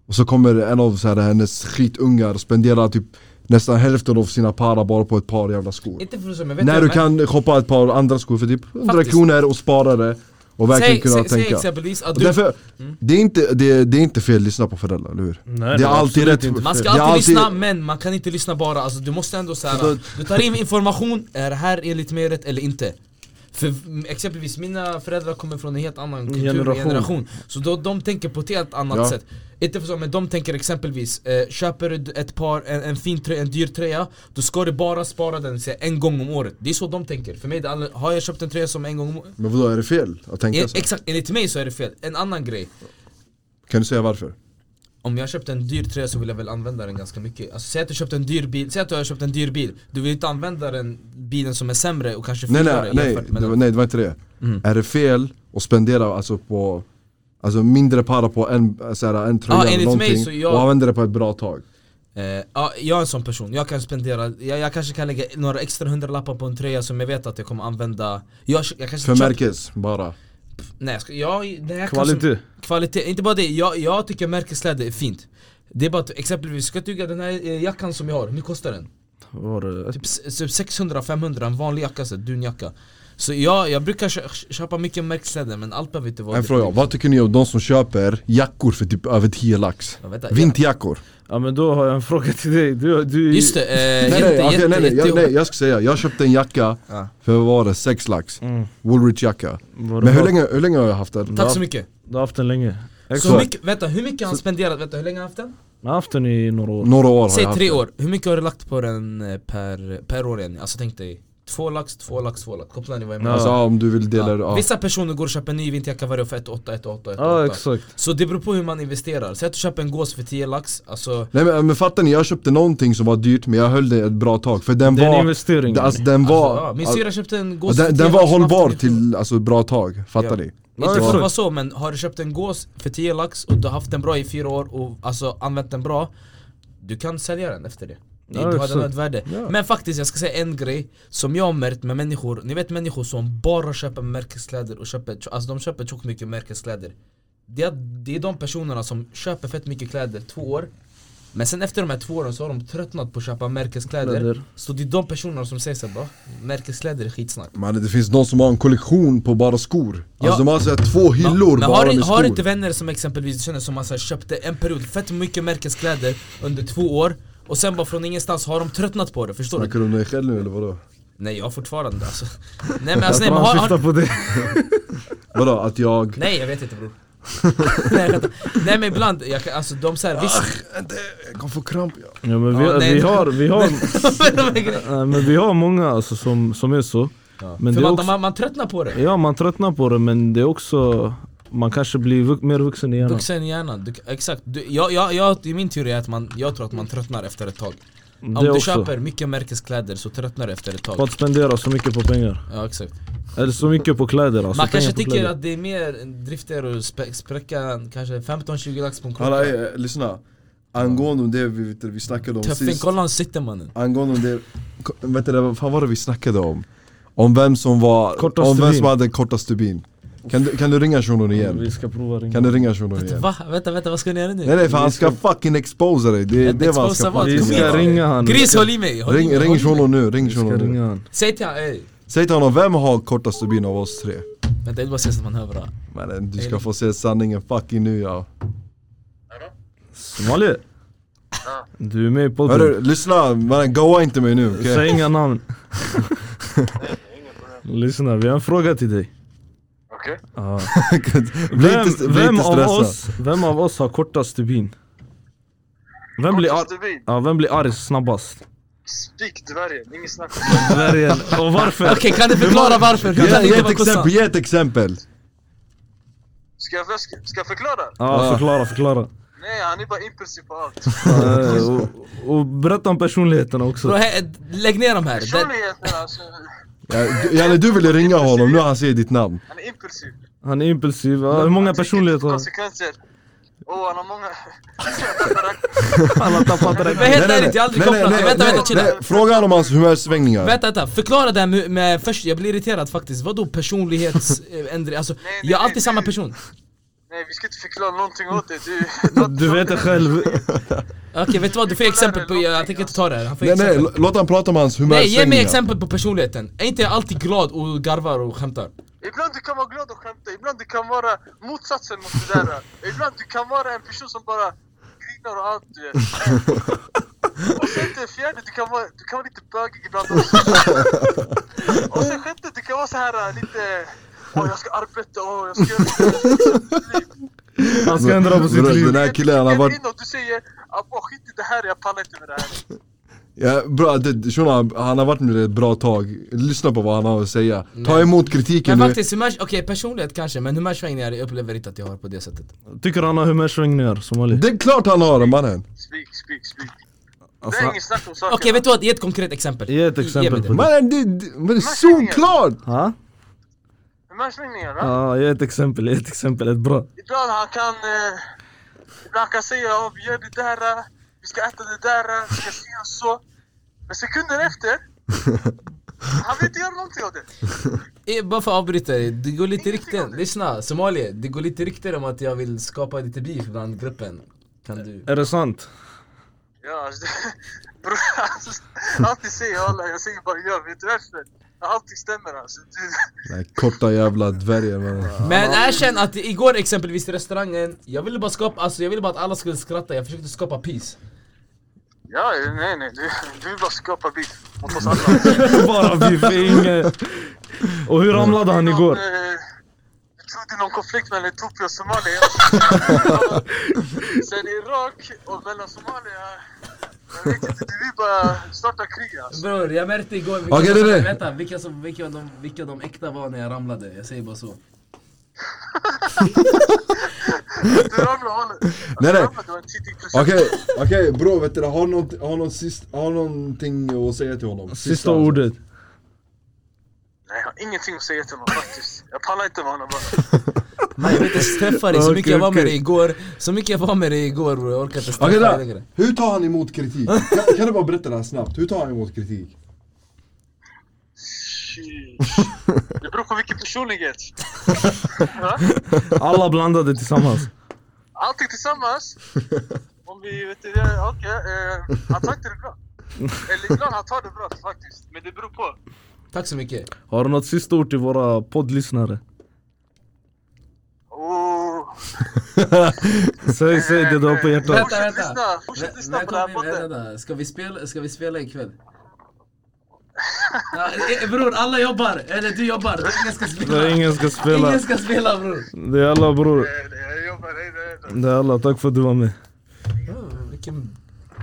A: Och så kommer en av så här, hennes skitungar spendera typ nästan hälften av sina para bara på ett par jävla skor
B: Inte för att så, men vet
A: När
B: vad
A: du
B: jag menar?
A: kan shoppa ett par andra skor för typ 100
B: Faktiskt.
A: kronor och spara det och verkligen
B: säg,
A: kunna
B: säg, Mm. säg
A: tänka
B: exempelvis att
A: Och
B: du,
A: Därför, det, är inte, det, det är inte fel att lyssna på föräldrar, eller hur?
C: Nej,
A: det
C: det
A: är
C: är
A: alltid
C: absolut
A: rätt
C: inte
B: man ska
A: det är
B: alltid, lyssna men man kan inte lyssna bara, alltså, du måste ändå såhär, du tar in information, är det här enligt mig rätt eller inte? För mm, exempelvis mina föräldrar kommer från en helt annan kultur och
C: Generation.
B: generation Så då, de tänker på ett helt annat
A: Ja.
B: sätt Inte för så, men de tänker exempelvis, eh, köper du ett par, en, en fin tröja, en dyr tröja Då ska du bara spara den säg, en gång om året Det är så de tänker, för mig är det alla, har jag köpt en tröja som en gång om året
A: Men vadå, är det fel att tänka så?
B: Exakt, enligt mig så är det fel, en annan grej
A: Kan du säga varför?
B: om jag köpte en dyr tröja så vill jag väl använda den ganska mycket alltså, Säg att du köpte en dyr bil, säg att du har köpt en dyr bil Du vill inte använda den bilen som är sämre och kanske
A: Nej
B: fulare
A: nej, nej,
B: jämfört med Mm.
A: det var,
B: den
A: nej det var inte det. Är det fel att spendera alltså på Alltså mindre para på en, så här, en tröja
B: Ja,
A: eller
B: enligt mig
A: någonting
B: så jag-
A: och använda det på ett bra tag
B: eh, ja, Jag är en sån person, jag kan spendera, jag, jag kanske kan lägga några extra hundralappar på en tröja som jag vet att jag kommer använda Jag, jag kanske
A: För
B: köper-
A: märkes bara
B: Nej, jag ska- jag, det här
C: Kvalitet.
B: Kanske, kvalitet, inte bara det, jag, jag tycker märkeskläder är fint Det är bara att exempelvis, ska jag tycka den här eh, jackan som jag har, hur mycket kostar den?
C: Var det?
B: Typ s- typ 600-500, en vanlig jacka, så här, dunjacka Så jag, jag brukar kö- köpa mycket märkeskläder men allt behöver inte vara
A: En fråga, vad tycker ni om de som köper jackor för typ över 10 lax?
B: Ja, vänta, ja.
A: Vinterjackor?
C: Ja men då har jag en fråga till dig. Du, du,
B: Just det, eh,
A: Nej, nej,
B: jätte,
A: okej,
B: jätte,
A: nej, nej,
B: jätte,
A: jag, nej, jag ska säga, jag köpte en jacka
B: Ja.
A: för vad var det, 6 lax?
C: Mm.
A: Woolrich jacka
C: Var det
A: Men hur
C: har-
A: länge, hur länge har jag haft den?
B: Tack så mycket
C: Du har haft den länge.
B: Så
C: Exakt.
B: mycket, vänta, hur mycket har han spenderat? Vänta, hur länge har han haft den?
C: Jag har haft den i några år.
A: Några år har
B: Säg
A: jag haft
B: tre
A: det.
B: år, hur mycket har du lagt på den eh, per, per år igen? Alltså tänk dig, två lax, två lax, två lax, kopplar ni vad jag menar?
A: Alltså ja, om du vill dela det,
B: Ja.
A: ja.
B: Vissa personer går och köper en ny vinterjacka varje år för 1 8, 1 8, 1
C: Ja
B: 8.
C: exakt.
B: Så det beror på hur man investerar, säg att du köper en gås för 10 lax, alltså
A: Nej men, men fattar ni, jag köpte någonting som var dyrt men jag höll det ett bra tag för den
C: Det är en
A: var...
C: investering.
A: Alltså den
B: Alltså,
A: var...
B: ja, min
A: alltså,
B: syrra köpte en gås
A: den,
B: för
A: den
B: 10
A: var
B: lax som
A: hållbar
B: haft den i två-
A: till, alltså bra tag, fattar
B: Ja.
A: ni?
B: Inte
C: Ja,
B: för att
C: exakt.
B: vara så men har du köpt en gås för 10 lax och du har haft den bra i 4 år och alltså använt den bra Du kan sälja den efter det det
C: Ja,
B: du har den
C: exakt.
B: ett värde.
C: Ja.
B: Men faktiskt, jag ska säga en grej Som jag har märkt med människor, ni vet människor som bara köper märkeskläder och köper, alltså de köper tjockt mycket märkeskläder det är, det är de personerna som köper fett mycket kläder två år Men sen efter de här två åren så har de tröttnat på att köpa märkeskläder
C: Kläder.
B: Så det är de personerna som säger såhär bara, märkeskläder är skitsnack
A: Man, det finns någon som har en kollektion på bara skor.
B: Ja.
A: Alltså de har så här, två hyllor
B: men
A: bara
B: har,
A: med skor.
B: har inte vänner som exempelvis du känner som man så här, köpte en period fett mycket märkeskläder under två år och sen bara från ingenstans har de tröttnat på det, förstår du?
A: Snackar du om dig själv nu eller vadå?
B: Nej jag har fortfarande alltså Nej men alltså
C: Alltså,
B: nej, men
C: man
B: har,
C: syftar
B: har,
C: på det.
A: Vadå att jag...
B: nej jag vet inte bror nej, vänta. nej men ibland, jag kan, alltså de såhär visst
A: Vänta, jag kommer få kramp. Ja.
C: Ja, men vi,
B: Ja, nej.
C: vi har, vi har,
B: De här grejerna.
C: nej, men vi har många alltså, som, som är så. Men
B: För
C: det är
B: man,
C: också,
B: man, man tröttnar på det
C: ja man tröttnar på det men det är också, man kanske blir vux, mer vuxen i hjärnan.
B: Vuxen i hjärnan, du, exakt du, jag, jag, jag, i min teori är att man, jag tror att man tröttnar efter ett tag Om
C: Det
B: du
C: också.
B: köper mycket märkeskläder så tröttnar du efter ett
C: För
B: tag
C: att spendera så mycket på pengar.
B: Ja exakt
C: Eller så mycket på kläder alltså.
B: Man kanske
C: pengar på
B: tycker
C: kläder.
B: att det är mer drifter och spä- spräcka en- kanske 15-20 lax på en
A: Alla,
B: klocka
A: eh, lyssna. Angående om det vi, vet du, vi snackade om
B: Tuffing,
A: sist.
B: kolla han sitter mannen
A: Angående om det... ko- Vet du, vad fan var det vi snackade om? Om vem som var...
C: Kortaste
A: om vem
C: bin.
A: som hade kortaste bin. Kan du, kan du ringa shunon igen?
C: Vi ska prova ringa.
A: Kan du ringa shunon igen?
B: Va? Vänta, vänta vad ska ni göra nu?
A: Nej nej för han ska fucking exposa dig, det är
B: Inte
A: det är vad han
B: exposa
A: ska
B: vad?
A: fucking
C: Vi
B: Kom
C: ska
B: igen.
A: göra
C: ringa han.
B: Gris håll i mig! Håll i
A: Ring,
B: mig,
A: ring
B: håll i mig.
A: shunon nu, ring
C: Vi ska
A: shunon nu
C: ringa han.
B: Säg till han, ey!
A: Säg till honom, vem har kortaste bin av oss tre?
B: Vänta jag vill bara se så att man hör bra
A: Mannen du
B: Eller-
A: ska få se sanningen fucking nu ja
C: Somali! Du är med i podden.
A: Hörru, lyssna mannen goa inte mig nu okej?
C: Säg inga namn. Lyssna, vi har en fråga till dig.
D: Okej.
C: Ja.
A: bli inte, bli
C: vem,
A: inte
C: av
A: stressad
C: oss, vem av oss har kortast bin? Vem blir, ar-
D: Kortaste bin.
C: ja, vem blir arg snabbast?
D: Spik dvärgen, inget snack.
C: Dvärgen. Och varför?
B: Okej kan du förklara varför? Hur
A: Ge,
B: kan det
A: ge
B: inte
A: ett
B: vara kossan?
A: exempel, ge ett exempel!
D: Ska jag, ska jag förklara?
C: Ja, förklara, förklara.
D: Nej, han är bara impulsiv på allt.
C: Eh, och, och berätta om personligheterna
B: Bro,
C: också.
B: he- lägg ner dem här Den-
D: Personligheten alltså,
A: Ja, du- Janne du ville ringa honom, nu har han säger ditt namn
D: han är impulsiv.
C: Han är impulsiv. Ja, hur många
D: Han tänker inte
C: personligheter
D: på
C: har han?
D: konsekvenser. Åh, han har många...
C: Han har tappat
B: Men
C: räkningen.
B: helt ärligt, jag har aldrig kopplat det. Vänta vänta chilla
A: Fråga honom om hans humörsvängningar
B: Vänta, vänta, förklara det här med, med först, jag blir irriterad faktiskt, vadå personlighetsändring? Alltså,
D: nej,
B: jag är
D: nej,
B: alltid samma
D: du-
B: person
D: Nej, vi ska inte förklara någonting åt dig. Du,
C: Du vet det själv.
B: Okej vet du vad, du får exempel på, jag tänker inte ta det här, han får
A: Nej nej,
B: exempel
A: lå- låt han prata om hans
B: Nej ge mig
A: humörsvängningar
B: exempel på personligheten, är inte jag alltid glad och garvar och skämtar?
D: Ibland du kan vara glad och skämta, ibland du kan vara motsatsen mot det där. Ibland du kan vara en person som bara grinar och allt. Du vet. Och sen det fjärde, du kan vara, du kan vara lite bögig ibland också. Och sen sjätte, du kan vara så här äh, lite... Åh, jag ska arbeta, åh, jag ska göra det här, jag ska fixa mitt liv."
C: Han ska ändra på sitt liv.
A: Den här killen han har
D: Du
A: varit...
D: varit... in och du säger "Ah, bara skit i det här, jag pallar inte med det här.
A: Ja, bra, det, shunon, han har varit med det ett bra tag, lyssna på vad han har att säga Ta emot kritiken
B: Men
A: nu
B: faktiskt, humörs, okej personlighet kanske, men humörsvängningar jag upplever inte att jag har på det sättet
C: Tycker han har humörsvängningar, Somali?
A: Det är klart han har det mannen!
C: Mm.
D: Spik, spik, spik.
C: Alltså,
D: det är inget snack om saken.
B: Okej vet du vad, ge ett konkret exempel
C: Ge ett exempel
B: mig det.
C: på det.
A: Mannen det, det, men det är solklart!
C: Ha?
D: Humörsvängningar, va?
C: Ja, ge ett exempel, ge ett exempel, ett bra.
D: Ibland han kan... Eh, ibland kan säga oh, vi gör det där, eh, vi ska äta det där, eh, vi ska se och så. Men sekunden efter, han vill inte göra någonting av det.
B: Eh, Bara för att avbryta dig, det går lite rykten, lyssna Somalia, det går lite rykten om att jag vill skapa lite beef bland gruppen Kan du?
C: Är det sant?
D: Ja, alltså, bror, alltså, alltid säger jag alla, jag säger bara ja, vet du varför? Allting stämmer alltså. Du-
A: Nej, korta jävla dvärgen mannen
B: Men erkänn att igår exempelvis i restaurangen, jag ville bara skapa, alltså jag ville bara att alla skulle skratta, jag försökte skapa peace
D: Ja, nej nej, du, du vill bara skapa beef mot oss alla.
C: Bara vi fick inget. Och hur ramlade han igår?
D: Eh, Jag trodde någon konflikt mellan Etiopien och Somalia. Sen Irak och mellan Somalia. Jag vet inte, vi bara startar krig alltså.
B: Bror, jag märkte igår vilka,
A: Okej,
B: som,
A: det är det.
B: Vänta, vilka, som, vilka, de, vilka de äkta var när jag ramlade, jag säger bara så
D: Du ramlar håller.
A: Nej, nej.
D: Du har en tidig procent.
A: Okej, okej bro vet du det, har något, har, något sist, har någonting att säga till honom?
C: Sista ordet.
D: Nej, jag har ingenting att säga till honom faktiskt. Jag pallar inte med honom bara.
B: Nej jag vet inte ens träffa dig, så
C: Okej,
B: mycket jag var med
C: okej.
B: dig igår Så mycket jag var med dig igår bror, jag orkar inte ens
A: Okej
B: träffa dig
A: där,
B: längre
A: hur tar han emot kritik? Kan, kan du bara berätta det här snabbt, hur tar han emot kritik?
D: Sheesh. Det beror på vilken personlighet. Va?
C: Alla blandade tillsammans.
D: Allting tillsammans. Om vi, vet du, det, okej. eh, han tar inte det bra. Eller ibland han tar det bra faktiskt. Men det beror på.
B: Tack så mycket
C: Har du något sista ord till våra poddlyssnare?
D: Oh.
C: Säg, säg det du har på hjärtat.
D: Fortsätt
B: Vänta, vänta.
D: lyssna,
B: Vä-
D: fortsätt lyssna
B: när
D: på den här
B: kommer-
D: podden.
B: vänta, vänta. Ska vi spela, ska vi spela ikväll? Ja, eh, bror, alla jobbar! Eller du jobbar, ingen ska spela!
C: Nej, ingen ska spela.
B: Ingen ska spela bror!
C: Det är alla bror.
D: Eh, Jag jobbar, hej, hej, hej.
C: Det är alla, tack för att du var med.
B: Oh, vilken...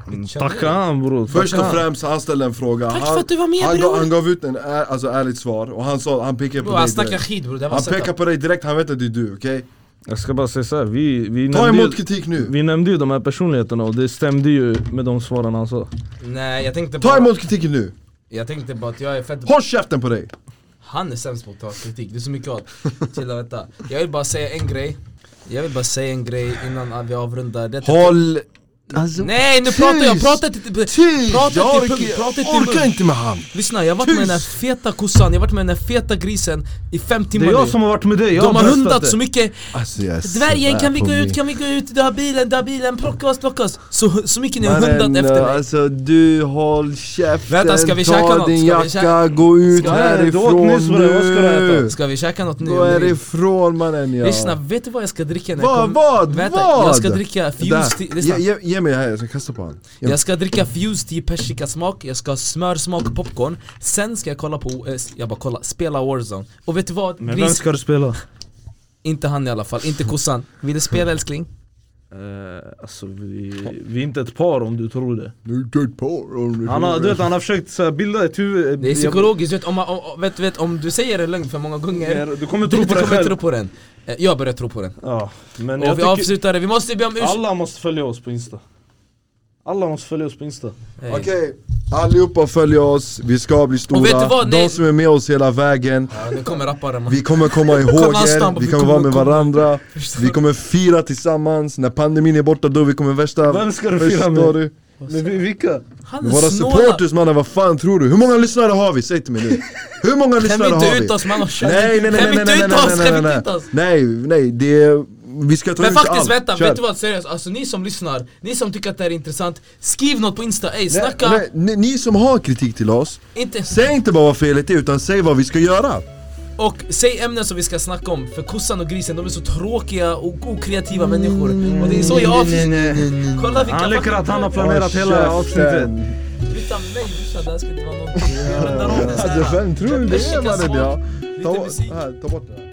B: Mm.
C: Tacka han bror.
A: Först
C: tacka
A: och
C: han.
A: främst, han ställde en fråga
B: Tack för att du var med,
A: han,
B: bror.
A: gav, han gav ut en är, alltså, ärligt svar och han sa, han pekade på
B: Bror han
A: dig
B: snackar
A: direkt
B: skit bror, det var
A: Han
B: setup.
A: pekar på dig direkt, han vet att det är du, okej?
C: Jag ska bara säga såhär, vi, vi,
A: Ta
C: nämnde
A: emot
C: ju-
A: kritik nu!
C: vi nämnde ju de här personligheterna och det stämde ju med de svaren han sa.
B: Nej jag tänkte
A: Ta
B: bara...
A: emot kritiken nu!
B: Jag tänkte bara att jag är fett...
A: Håll käften på dig!
B: Han är sämst på att ta kritik, det är så mycket hat. Chilla vänta. Jag vill bara säga en grej. Jag vill bara säga en grej innan vi avrundar. Det
A: Håll...
B: Nej nu pratar jag,
A: Tyst!
B: prata till...
A: Tyst!
B: Prata
A: Jag
B: till
A: orkar-
B: punkt, prata till
A: orkar
B: punkt.
A: inte med han!
B: Lyssna, jag har varit med den här
A: Tyst!
B: feta kossan, jag har varit med den här feta grisen i fem
C: Det
B: timmar
C: är jag
B: nu.
C: som har varit med dig, jag
B: De har
C: bröstat
B: hundat
C: det.
B: så mycket.
A: Alltså, jag är
B: Dvärgen
A: så
B: kan vi
A: på
B: gå ut,
A: mig.
B: kan vi gå ut, du har bilen, du har bilen, plocka oss, plocka oss. Så, så mycket ni har hundat efter mig.
A: alltså du håll käften,
B: Vänta, ska vi käka något? Ska vi käka-
A: gå ut
B: Ska-
C: Nej, du åt nyss vad det- vad ska du äta?
B: Ska vi käka något nu?
A: Gå
B: eller inte?
A: härifrån mannen ja!
B: Lyssna, vet du vad jag ska dricka när
A: Vad,
B: jag
A: vad,
B: Vänta,
A: vad?
B: jag ska dricka Fuse
A: Där.
B: tea, lyssna.
A: Ge, ge, ge mig här, jag ska kasta på honom
B: Jag ska dricka Fuse tea persikasmak, jag ska ha smörsmak och popcorn Sen ska jag kolla på, eh, jag bara kolla, spela Warzone Och vet du vad?
C: Men vem
B: Gris,
C: ska du spela?
B: inte han i alla fall, inte kossan Vill du spela älskling?
C: Uh, alltså vi, vi är inte ett par om du tror det.
A: Nu tar ett par om
C: Han har, du vet, han har försökt så här, bilda ett huvud.
B: Det är psykologiskt, du vet, om, man- om, om- vet, vet, om du säger en lögn för många gånger
C: Du kommer
B: Du
C: tro
B: kommer
C: på dig
B: inte
C: själv.
B: tro på den Eh, Jag börjar tro på den
C: Ja, men jag
B: Och vi
C: tycker
B: avslutar det, vi måste be om ursäkt
C: alla måste följa oss på Insta. Alla måste följa oss på Insta.
B: Hej.
A: Okej, allihopa följ oss, vi ska bli stora
B: Och vet du vad? Nej.
A: De som är med oss hela vägen
B: Ja, nu kommer rapparen man.
A: Vi kommer komma ihåg
B: Kolla stamp,
A: er, vi
B: vi
A: kommer
B: kommer
A: vara med
B: komma-
A: varandra
B: Förstår
A: Vi
B: du?
A: kommer fira tillsammans, när pandemin är borta då vi kommer värsta
C: Vem ska du fira
A: Förstår
C: med?
A: du?
C: Men vi- vilka?
B: Han är
A: Våra
B: snåla!
A: supporters mannen, vad fan tror du? Hur många lyssnare har vi? Säg till mig nu Hur många
B: Skäm
A: lyssnare har
B: inte
A: vi?
B: ut oss man och kör.
A: Nej nej nej
B: Skäm
A: nej nej
B: inte
A: nej
B: ut oss,
A: nej
B: skäm
A: nej
B: inte ut oss!
A: nej nej det är, vi ska ta
B: Men
A: ut
B: faktiskt
A: allt.
B: vänta,
A: Kör.
B: vet du vad? Seriöst, alltså ni som lyssnar, ni som tycker att det här är intressant Skriv något på insta, ey
A: Nej,
B: snacka!
A: nej, ni, ni som har kritik till oss,
B: Inte,
A: säg inte bara vad felet är utan säg vad vi ska göra
B: och säg ämnen som vi ska snacka om, för kossan och grisen de är så tråkiga och okreativa människor Och det är så jag avslutar, kolla vilka
C: Han leker
B: fucking-
C: att han har planerat hela
A: Käften.
C: avsnittet.
B: Utan mig brorsan, det här ska inte vara någonting, vi rundar av det
A: Alltså
B: såhär
A: vem tror du det är mannen? ja? Ta
B: Lite
A: bort-
B: musik.
A: här, Ta bort det här